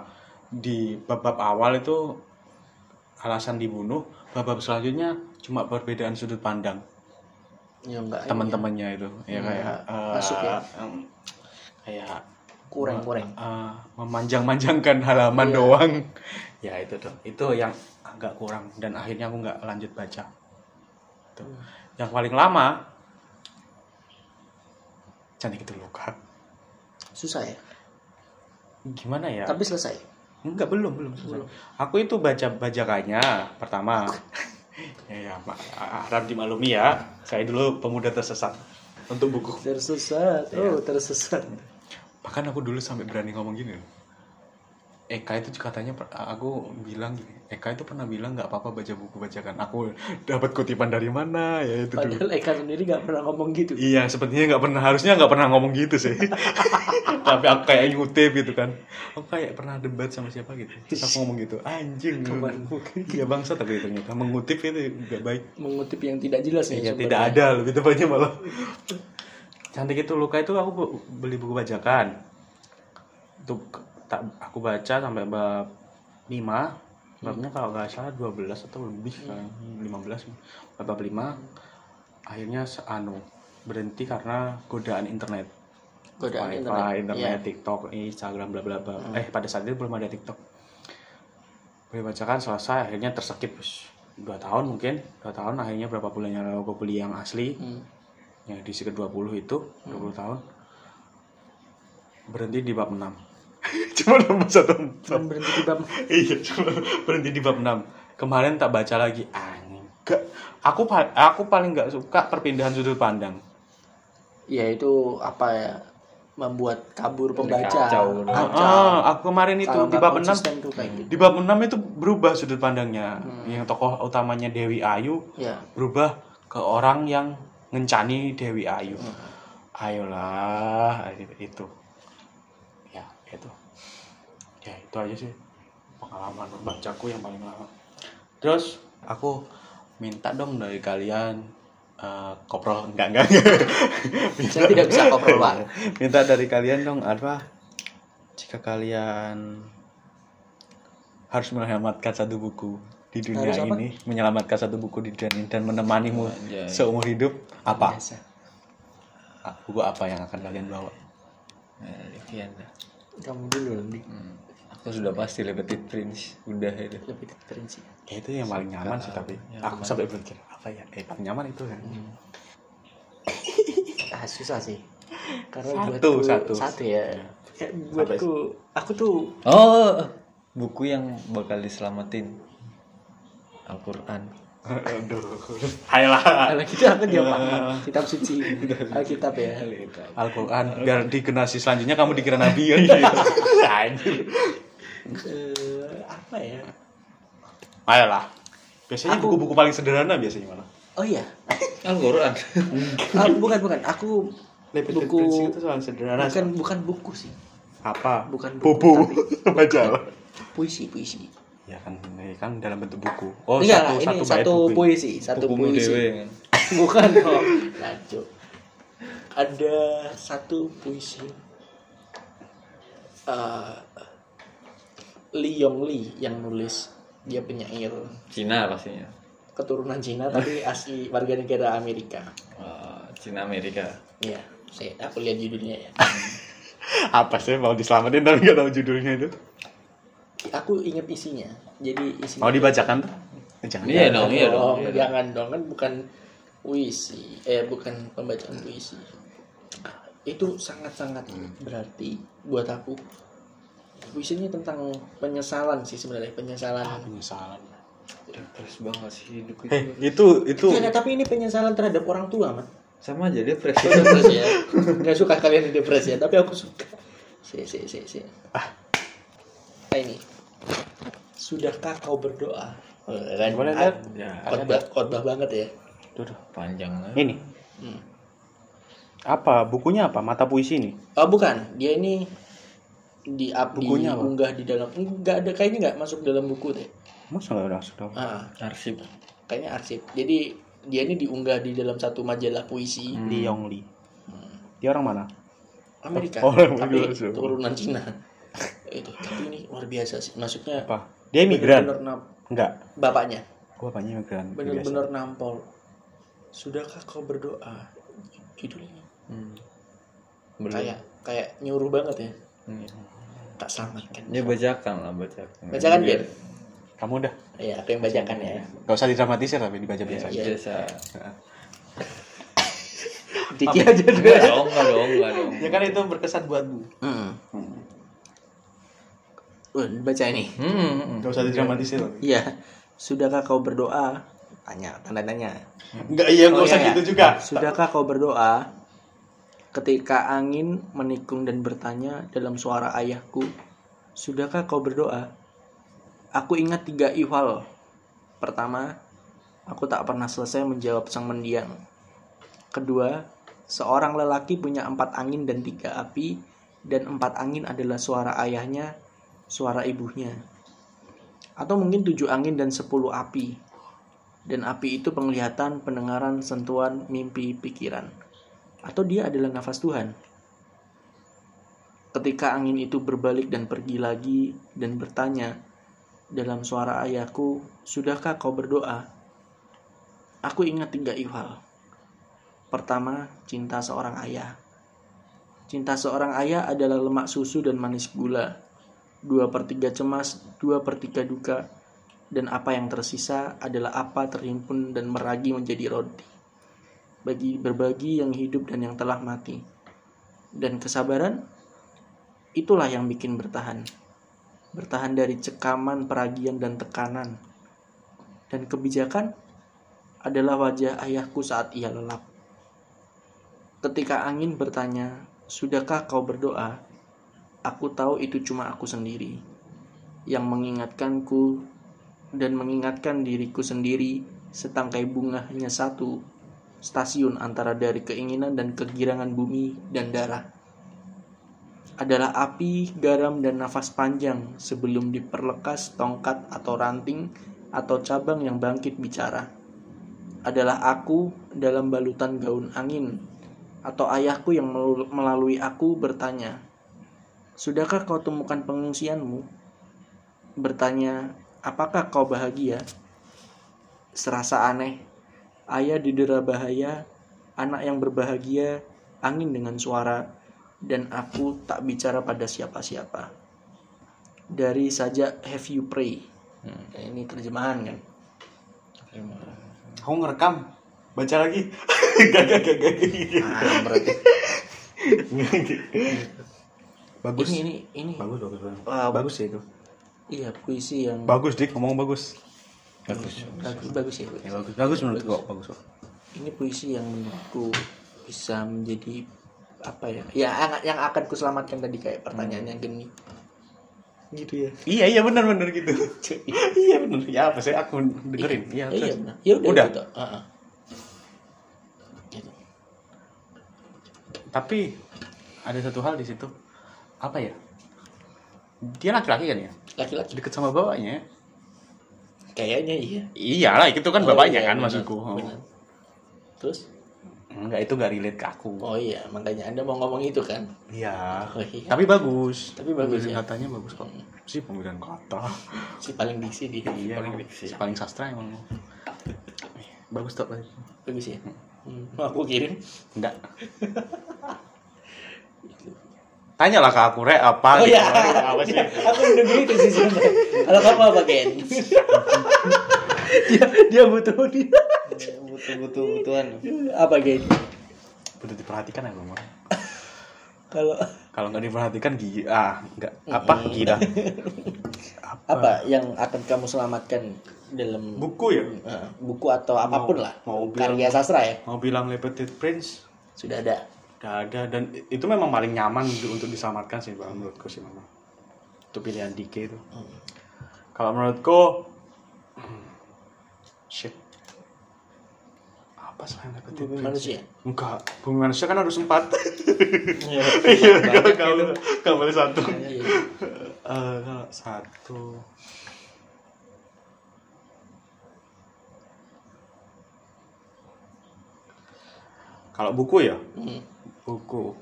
di bab-bab awal itu alasan dibunuh babak selanjutnya cuma perbedaan sudut pandang ya enggak teman-temannya itu ya kayak eh, Hmm. Masuk ya. em, kayak kurang kurang eh, memanjang-manjangkan halaman Iya. doang ya itu dong itu yang agak kurang dan akhirnya aku nggak lanjut baca Tuh. yang paling lama cantik itu luka susah ya gimana ya tapi selesai Enggak belum belum selesai. Aku itu baca bajakannya pertama. ya ya Pak harap dimaklumi ya. Saya dulu pemuda tersesat untuk buku. tersesat Iya. oh tersesat Bahkan aku dulu sampai berani ngomong gini loh. Eka itu katanya per- aku bilang gini, Eka itu pernah bilang nggak apa-apa baca buku bajakan. Aku dapat kutipan dari mana ya itu dulu. padahal Eka sendiri nggak pernah ngomong gitu Iya, sepertinya nggak pernah harusnya nggak pernah ngomong gitu sih. Tapi aku kayak ngutip gitu kan. Aku kayak pernah debat sama siapa gitu. Terus aku ngomong gitu, anjing. Iya bangsa tapi ternyata mengutip itu nggak baik. mengutip yang tidak jelas ya, Iya sumbernya. tidak ada lebih tepatnya malah. Cantik itu luka itu aku bu- beli buku bajakan. Itu k- tak aku baca sampai bab 5 babnya kalau nggak salah 12 atau lebih kan 15 bab bab 5 akhirnya se- anu berhenti karena godaan internet godaan wifi, internet, internet, Iya. Hmm. TikTok, Instagram, bla bla bla. Eh pada saat itu belum ada TikTok. Gue bacakan selesai, akhirnya terskip bos. dua tahun mungkin, dua tahun akhirnya berapa bulannya lalu gue beli yang asli, Hmm. yang di ke 20 itu, 20 tahun berhenti di bab 6 cuma nambah satu bab. Cuman berhenti di bab iya cuma berhenti di bab 6 kemarin tak baca lagi anjing Nggak. aku pa- aku paling nggak suka perpindahan sudut pandang ya itu apa ya membuat kabur pembaca Kacau. Kacau. Ah, aku kemarin itu Kalau di nggak bab 6 konsisten tuh kayak gitu Hmm. Di bab 6 itu berubah sudut pandangnya. Yang tokoh utamanya Dewi Ayu ya berubah ke orang yang ngencani Dewi Ayu. Hmm. Ayolah, itu. Ya, itu. Ya, itu aja sih pengalaman membacaku yang paling lama. Terus aku minta dong dari kalian eh, koprol enggak enggak. Minta- saya tidak bisa koprol pak minta dari kalian dong apa jika kalian harus menyelamatkan satu buku di dunia Harus apa? ini, menyelamatkan satu buku di dunia ini dan menemanimu Anjay. seumur hidup apa? Biasa. Ah, Buku apa yang akan kalian bawa? Nah, demikian lah. Kamu dulu nanti. Hmm. Aku sudah pasti Le Petit Prince. Udah itu. Lebih ke prinsip. Ya, itu yang paling nyaman sih tapi aku sampai berpikir apa ya? Eh paling nyaman itu kan. Hmm. Ah, susah sih. Karena Satu, satu. buatku Iya. satu ya. Kayak buatku aku tuh Oh, buku yang bakal diselamatin. Al-Quran. Aduh. Ayolah. Alah, kita gitu apa dia Pak? Kitab suci. Alkitab ya. Iya, Al-Quran biar di generasi selanjutnya kamu dikira nabi ya. Anjir. Eh, apa ya? Ayolah. Biasanya buku-buku paling sederhana biasanya malah. Oh iya. Al-Quran. Ah, bukan bukan. Aku buku itu soal sederhana. bukan bukan buku sih. apa? Bukan buku, buku. Majalah. Puisi puisi. Ya kan, ini kan dalam bentuk buku. Oh, Enggak satu, lah, ini satu, satu bait buku. puisi, satu Bukumu puisi. dewe kan. Bukan kok. Laco. Ada satu puisi. Eh Li Yongli yang nulis. Dia penyair Cina pastinya. keturunan Cina tapi asli warga negara Amerika. Wah, Oh, Cina Amerika. Iya, saya aku lihat judulnya ya. Apa sih mau diselamatin tapi nggak tahu judulnya itu. Aku ingat isinya. Jadi isinya Mau dibacakan tuh? Eh, Jangan. Iya dong, iya dong. dong, iya dong. jangan dong kan bukan puisi, eh bukan pembacaan puisi. Itu sangat-sangat berarti buat aku. Puisinya tentang penyesalan sih sebenarnya, penyesalan. Penyesalan. Depres banget sih hidup itu. Eh, itu itu Iya, nah, tapi ini penyesalan terhadap orang tua, Mas. Sama aja depres. Depresi ya. Nggak suka kalian di depresi ya, tapi aku suka. Si, si, si, si. Ah. Nah, ini. Sudahkah kau berdoa? Eh, kan, Boleh, ah, Dad? Ya, Khotbah, khotbah banget ya. Tuh, tuh. panjang lah. Ini Hmm. apa bukunya apa mata puisi ini Oh bukan, dia ini di up Bukunya apa? diunggah di dalam enggak ada kayaknya nggak masuk dalam buku deh. masa nggak langsung dong Ah, Arsip. kayaknya arsip. Jadi dia ini diunggah di dalam satu majalah puisi Li Yongli dia orang mana Amerika, Oh, orang tapi Amerika. turunan Cina. Itu tapi ini luar biasa sih. Maksudnya apa dia imigran bener-bener nam- enggak bapaknya gua apa imigran bener-bener nampol. Sudahkah kau berdoa? Judulnya Hmm. Belum. kayak kayak nyuruh banget ya. Hmm. Tak selamatkan. Ya bacakan lah bacakan. Bacakan, Biar. Biar- Biasa. kamu udah Iya, aku yang bacakan ya. nggak usah didramatisir tapi dibaca biasa aja Iya. Biasa. Diki aja dulu. Enggak dong, enggak dong, enggak dong. ya kan itu berkesan buatmu Hmm. Uh, baca ini. Hmm, hmm. nggak usah didramatisir Iya. Sudahkah kau berdoa? Tanya, tanda tanya. nggak iya nggak Oh, usah iya, gitu iya. juga Sudahkah kau berdoa ketika angin menikung dan bertanya dalam suara ayahku? Sudahkah kau berdoa? Aku ingat tiga ihwal. Pertama, aku tak pernah selesai menjawab sang mendiang. Kedua, seorang lelaki punya empat angin dan tiga api, dan empat angin adalah suara ayahnya, suara ibunya. Atau mungkin tujuh angin dan sepuluh api, dan api itu penglihatan, pendengaran, sentuhan, mimpi, pikiran. Atau dia adalah nafas Tuhan. Ketika angin itu berbalik dan pergi lagi dan bertanya, dalam suara ayahku, sudahkah kau berdoa? Aku ingat tiga ihwal. Pertama, cinta seorang ayah. Cinta seorang ayah adalah lemak susu dan manis gula. Dua per tiga cemas, dua per tiga duka, dan apa yang tersisa adalah apa terhimpun dan meragi menjadi roti. Bagi berbagi yang hidup dan yang telah mati. Dan kesabaran, itulah yang bikin bertahan. Bertahan dari cekaman, peragian, dan tekanan. Dan kebijakan adalah wajah ayahku saat ia lelap. Ketika angin bertanya, Sudahkah kau berdoa? Aku tahu itu cuma aku sendiri yang mengingatkanku dan mengingatkan diriku sendiri setangkai bunga hanya satu stasiun antara dari keinginan dan kegirangan bumi dan darah adalah api, garam, dan nafas panjang sebelum diperlekas tongkat atau ranting atau cabang yang bangkit bicara. Adalah aku dalam balutan gaun angin atau ayahku yang melu- melalui aku bertanya, Sudahkah kau temukan pengungsianmu? bertanya, apakah kau bahagia? Serasa aneh. Ayah didera bahaya, anak yang berbahagia, angin dengan suara, dan aku tak bicara pada siapa-siapa. Dari saja Have You Pray. Hmm. Nah, ini terjemahan kan? Aku ngerekam. Baca lagi. gak, gak, gak, gak, gak. Ah, berarti. Bagus. ini, ini, ini. Bagus, bagus, bagus. Wah, bagus ya itu. Iya, puisi yang Bagus, Dik. Ngomong bagus. bagus bagus, bagus ya. Ya, bagus. Bagus menurut gua, bagus. kok. ini puisi yang menurutku bisa menjadi apa ya ya ang- yang akan kuselamatkan tadi kayak pertanyaannya gini Hmm. gitu ya Iya, iya benar benar gitu. iya benar. Ya apa sih aku dengerin. Iya, Eh, iya terus. benar. ya udah, Udah. gitu. Ah, ah. Gitu. Tapi ada satu hal di situ. Apa ya? Dia laki-laki kan ya? laki-laki Deket sama bapaknya. ya? kayaknya iya Iyalah, itu kan Oh, bapaknya iya, kan benar, maksudku. Oh. benar. terus Enggak, itu gak relate ke aku. oh iya makanya anda mau ngomong itu kan Iya. Oh, iya. Tapi bagus. Tapi bagus, Pemilihan ya? Katanya bagus kok. Si pemilihan kata. si paling diksi dia Iya. paling emang. diksi. Si paling sastra emang. bagus tuh. bagus ya Hmm, mau aku kirim Enggak. Tanyalah ke aku, Re, apa? oh gitu. iya Apa sih? aku udah begitu sih sebenarnya kalau kamu apa Ken dia dia butuh dia Iya, butuh butuh butuhan apa Ken Perlu diperhatikan ya, Bang. kalau Kalau nggak diperhatikan gigi ah nggak apa gila. apa yang akan kamu selamatkan dalam buku, Buku ya? buku atau apapun lah mau bilang- karya sastra ya Mau bilang Le Petit Prince sudah ada nggak ada dan itu memang paling nyaman untuk- untuk diselamatkan sih Bang, menurutku sih memang. Itu pilihan Dike itu. Hmm. Kalau menurutku hmm, shit. Apa selain Le Petit bumi Prince? manusia Enggak, bumi manusia kan harus empat. Iya. Iya, nggak- nggak boleh- nggak boleh satu. Iya. Eh, kalau satu kalau buku ya Hmm. buku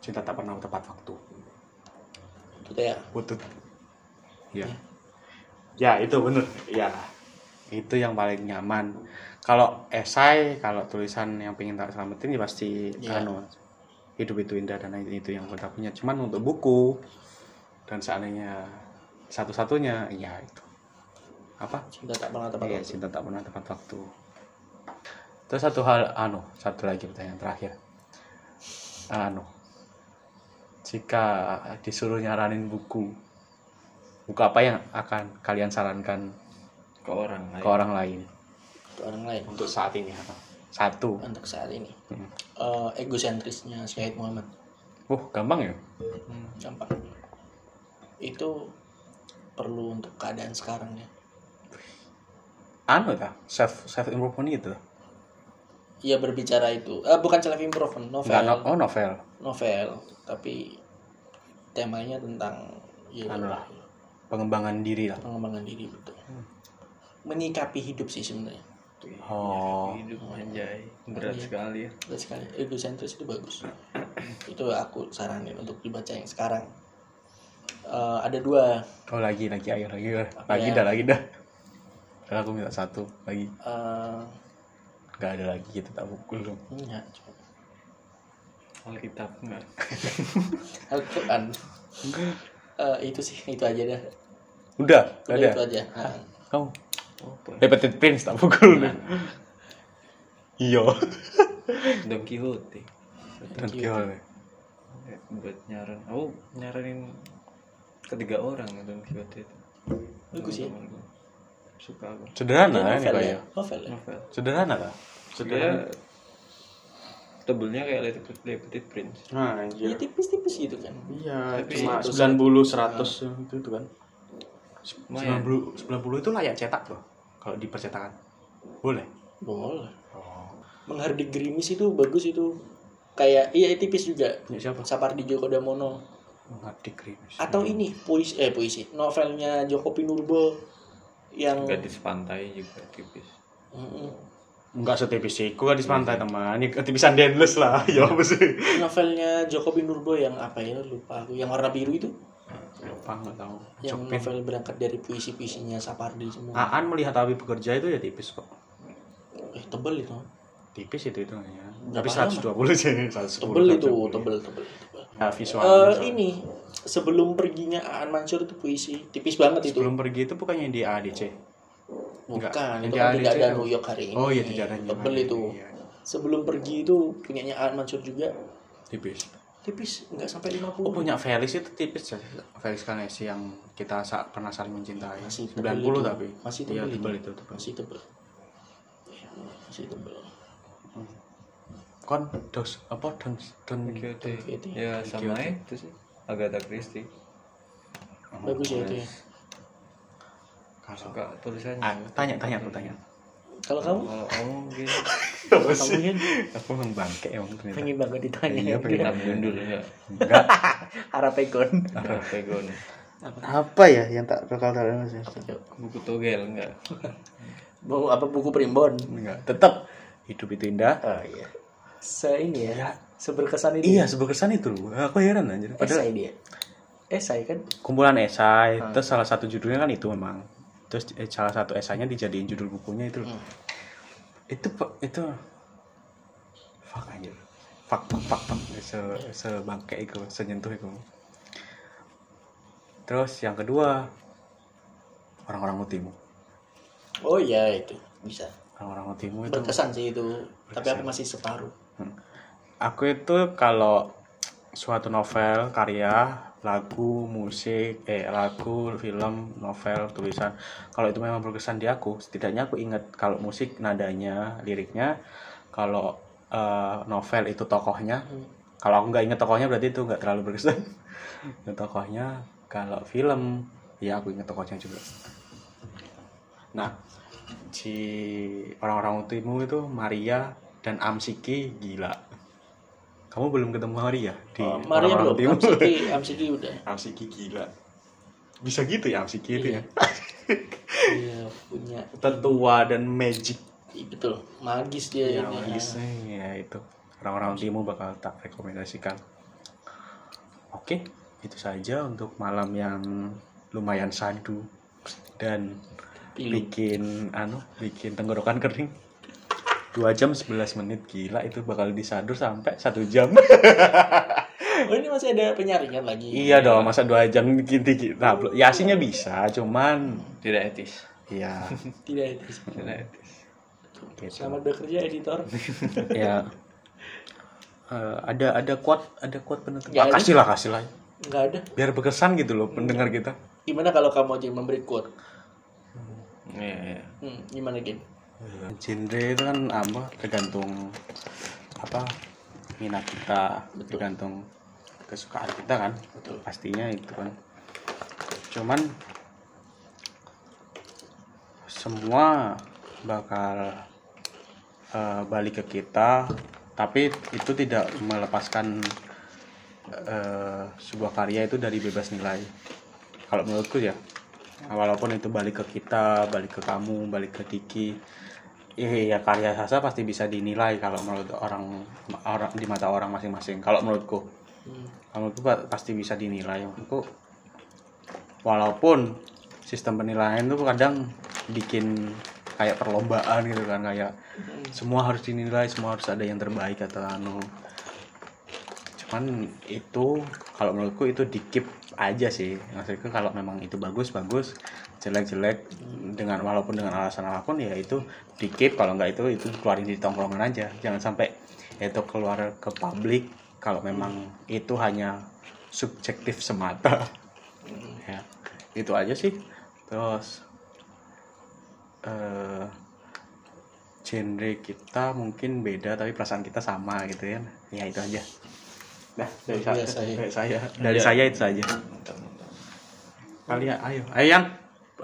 cinta tak pernah tepat waktu itu kayak putut ya ya itu bener ya itu yang paling nyaman kalau esai kalau tulisan yang pengen tak selamatin ya pasti Ya. anu hidup itu indah dan itu, itu yang kita punya cuman untuk buku dan seandainya satu-satunya ya itu apa cinta tak pernah tepat Iya, waktu. cinta tak pernah tepat waktu. Terus satu hal, anu, satu lagi pertanyaan terakhir. Anu, jika disuruh nyaranin buku, buku apa yang akan kalian sarankan ke orang ke orang lain Untuk orang lain untuk saat ini? Anu? Satu. untuk saat ini Hmm. Eh, egosentrisnya Syahid Muhammad Uh, gampang ya? gampang itu perlu untuk keadaan sekarang ya Anu dah, self self improvement gitu. Iya berbicara itu Eh, bukan self improvement Enggak, novel no- oh novel. novel tapi temanya tentang ya, Anu lah. Hmm. Pengembangan diri lah. pengembangan diri betul menyikapi hidup sih sebenarnya Oh. hidup anjay berat Iya. sekali ya Betul sekali egocentris itu bagus itu aku saranin untuk dibaca yang sekarang Eh, ada dua Oh lagi, lagi, ayo lagi. ayo. Apa Lagi ya? dah, lagi dah. Kalau aku minta satu lagi. eh, Gak ada lagi kita tak pukul dong. hmm, ya, coba. alkitab enggak Al-Quran Eh, itu sih itu aja dah Udah, Udah, udah, itu aja Nah, Kamu apa ya? dapetin pins tak pukul dong. Iya. Don Quixote Dan gimana? Eh, buat nyaran oh nyaranin ketiga orang ya Don Quixote itu Bagus ya. Teman-teman gua. suka aku Dia Sederhana ya, novel Pak ya ya. novel ya novel Sederhana lah. dia tebelnya kayak Little Petit- Little Petit Prince Nah, Ya, tipis-tipis gitu kan Iya, Tapi cuma itu 90 100 itu tuh kan. Lumayan. 90 90 itu layak cetak loh. Kalau di percetakan. Boleh. boleh Oh. menghardik gerimis itu bagus itu kayak iya tipis juga Ini siapa? Sapardi Djoko Damono Ngadi krimis. atau ini puisi eh puisi novelnya Joko Pinurbo yang gadis pantai juga tipis Mm-mm. Enggak setipis iku kan di pantai teman, ini ketipisan denless lah. Ya apa sih? Novelnya Jokowi Nurbo yang apa ya lupa aku. Yang warna biru itu. Lupa nggak tahu. Yang novel berangkat dari puisi-puisinya Sapardi semua. Aan melihat api bekerja itu ya tipis kok. Eh tebel itu. Tipis itu itu ya. Berapa Tapi 120 sih, 110. Tebel itu, tebel, tebel. tebel. Ya visual. Eh ini sebelum perginya Aan Mansur itu puisi tipis banget itu. Sebelum pergi itu bukannya di ADC. Bukan, Enggak, tidak itu ada kan tidak itu ada ya. New York hari ini. Oh iya, tidak ada New York Tebel hari ini, itu. iya. Sebelum pergi itu punyanya Aan Mansur juga Tipis. tipis, nggak sampai 50. Oh punya Felix itu tipis ya. Felix Kanesi yang kita sa- pernah saling mencintai. Masih 90 tebel itu. tapi. Masih Iya, tebel tebel itu. itu. tebel. Masih tebel. Ya, Masih tebel. Kon dos apa don don Kyoto. Kyoto. Iya. Ya sama itu sih. Agatha Christie. Bagus Iya. ya itu ya. kalau Suka tulisannya. ah, tanya tanya aku tanya. Kalau kamu Kalau kamu mungkin kamu Yen, Aku emang bangke emang ternyata. pengen banget ditanya. Iya, pengen. kita mundur ya. Enggak. Harap Egon. Pegon. Apa ya yang tak bakal tahu Mas? Buku togel enggak? Mau apa buku primbon? Enggak. Tetap hidup itu indah. Oh iya. Se ini ya. Seberkesan ini. Iya, seberkesan itu loh. Aku heran anjir. Padahal Esai dia. Esai kan kumpulan esai, terus salah satu judulnya kan itu memang. Terus eh, salah satu esainya dijadiin judul bukunya itu loh. Itu pe- itu fuck anjir. Fuck fuck fuck, fuck. Se sebangke itu, senyentuh itu. Terus yang kedua orang-orang utimu. Oh iya itu bisa. Orang-orang utimu itu Berkesan sih itu. Tapi aku masih separuh. Aku itu kalau suatu novel, karya, lagu, musik, eh lagu, film, novel, tulisan, kalau itu memang berkesan di aku, setidaknya aku ingat kalau musik nadanya, liriknya, kalau eh, novel itu tokohnya, Hmm. kalau aku nggak inget tokohnya berarti itu nggak terlalu berkesan. Ingat tokohnya, kalau film, ya aku ingat tokohnya juga. Nah, si orang-orang utimu itu Maria dan Amsiki gila. Kamu belum ketemu Maria di Oh, Maria orang-orang utimu? belum. Amsiki, Amsiki udah. Amsiki gila. Bisa gitu ya Amsiki itu ya. Iya punya. Tertua dan magic Iya, Betul. Magis dia ya, ini. magisnya ya itu. Orang-orang utimu bakal tak rekomendasikan. Oke, itu saja untuk malam yang lumayan sadu dan Nah, Pilu. bikin anu bikin tenggorokan kering dua jam 11 menit gila itu bakal disadur sampai satu jam Oh ini masih ada penyaringan lagi. iya dong masa dua jam bikin dikit nah, bel- ya aslinya bisa cuman Tidak etis. ya Tidak itu. Tidak etis. gitu. Selamat bekerja editor. ya Eh, ada ada kuat ada kuat penutup Ah, Ya, ini- kasih lah kasih lah Enggak ada. biar berkesan gitu loh pendengar kita Gimana kalau kamu aja yang memberi quote? Iya, iya. Hmm, gimana game? genre itu kan apa tergantung apa minat kita tergantung kesukaan kita kan pastinya itu kan cuman semua bakal eh, balik ke kita tapi itu tidak melepaskan eh, sebuah karya itu dari bebas nilai kalau menurutku ya walaupun itu balik ke kita balik ke kamu balik ke Diki eh, ya karya sastra pasti bisa dinilai kalau menurut orang orang di mata orang masing-masing kalau menurutku Hmm. kalau menurutku pa- pasti bisa dinilai menurutku walaupun sistem penilaian itu kadang bikin kayak perlombaan gitu kan kayak hmm. semua harus dinilai semua harus ada yang terbaik atau anu cuman itu kalau menurutku itu di keep aja sih maksudku kalau memang itu bagus bagus jelek jelek dengan walaupun dengan alasan apapun ya itu di keep kalau nggak itu itu keluarin di tongkrongan aja jangan sampai itu keluar ke publik kalau memang itu hanya subjektif semata ya itu aja sih terus eh genre kita mungkin beda tapi perasaan kita sama gitu ya ya itu aja nah dari saya Biasa ya. dari saya dari saya itu saja kalian ayo ayo yang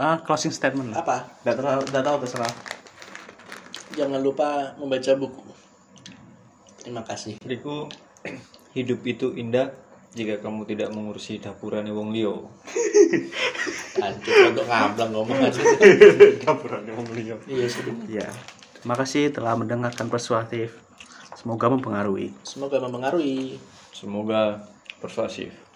ah, closing statement lah Apa? Nggak terlalu- nggak tahu terserah Jangan lupa membaca buku. Terima kasih. Beriku hidup itu indah jika kamu tidak mengurusi dapurane wong liya. Hancur untuk ngamblang ngomong aja. dapurnya mau beliau Iya sih. bener. ya Makasih telah mendengarkan persuasif. Semoga mempengaruhi. Semoga mempengaruhi. Semoga persuasif.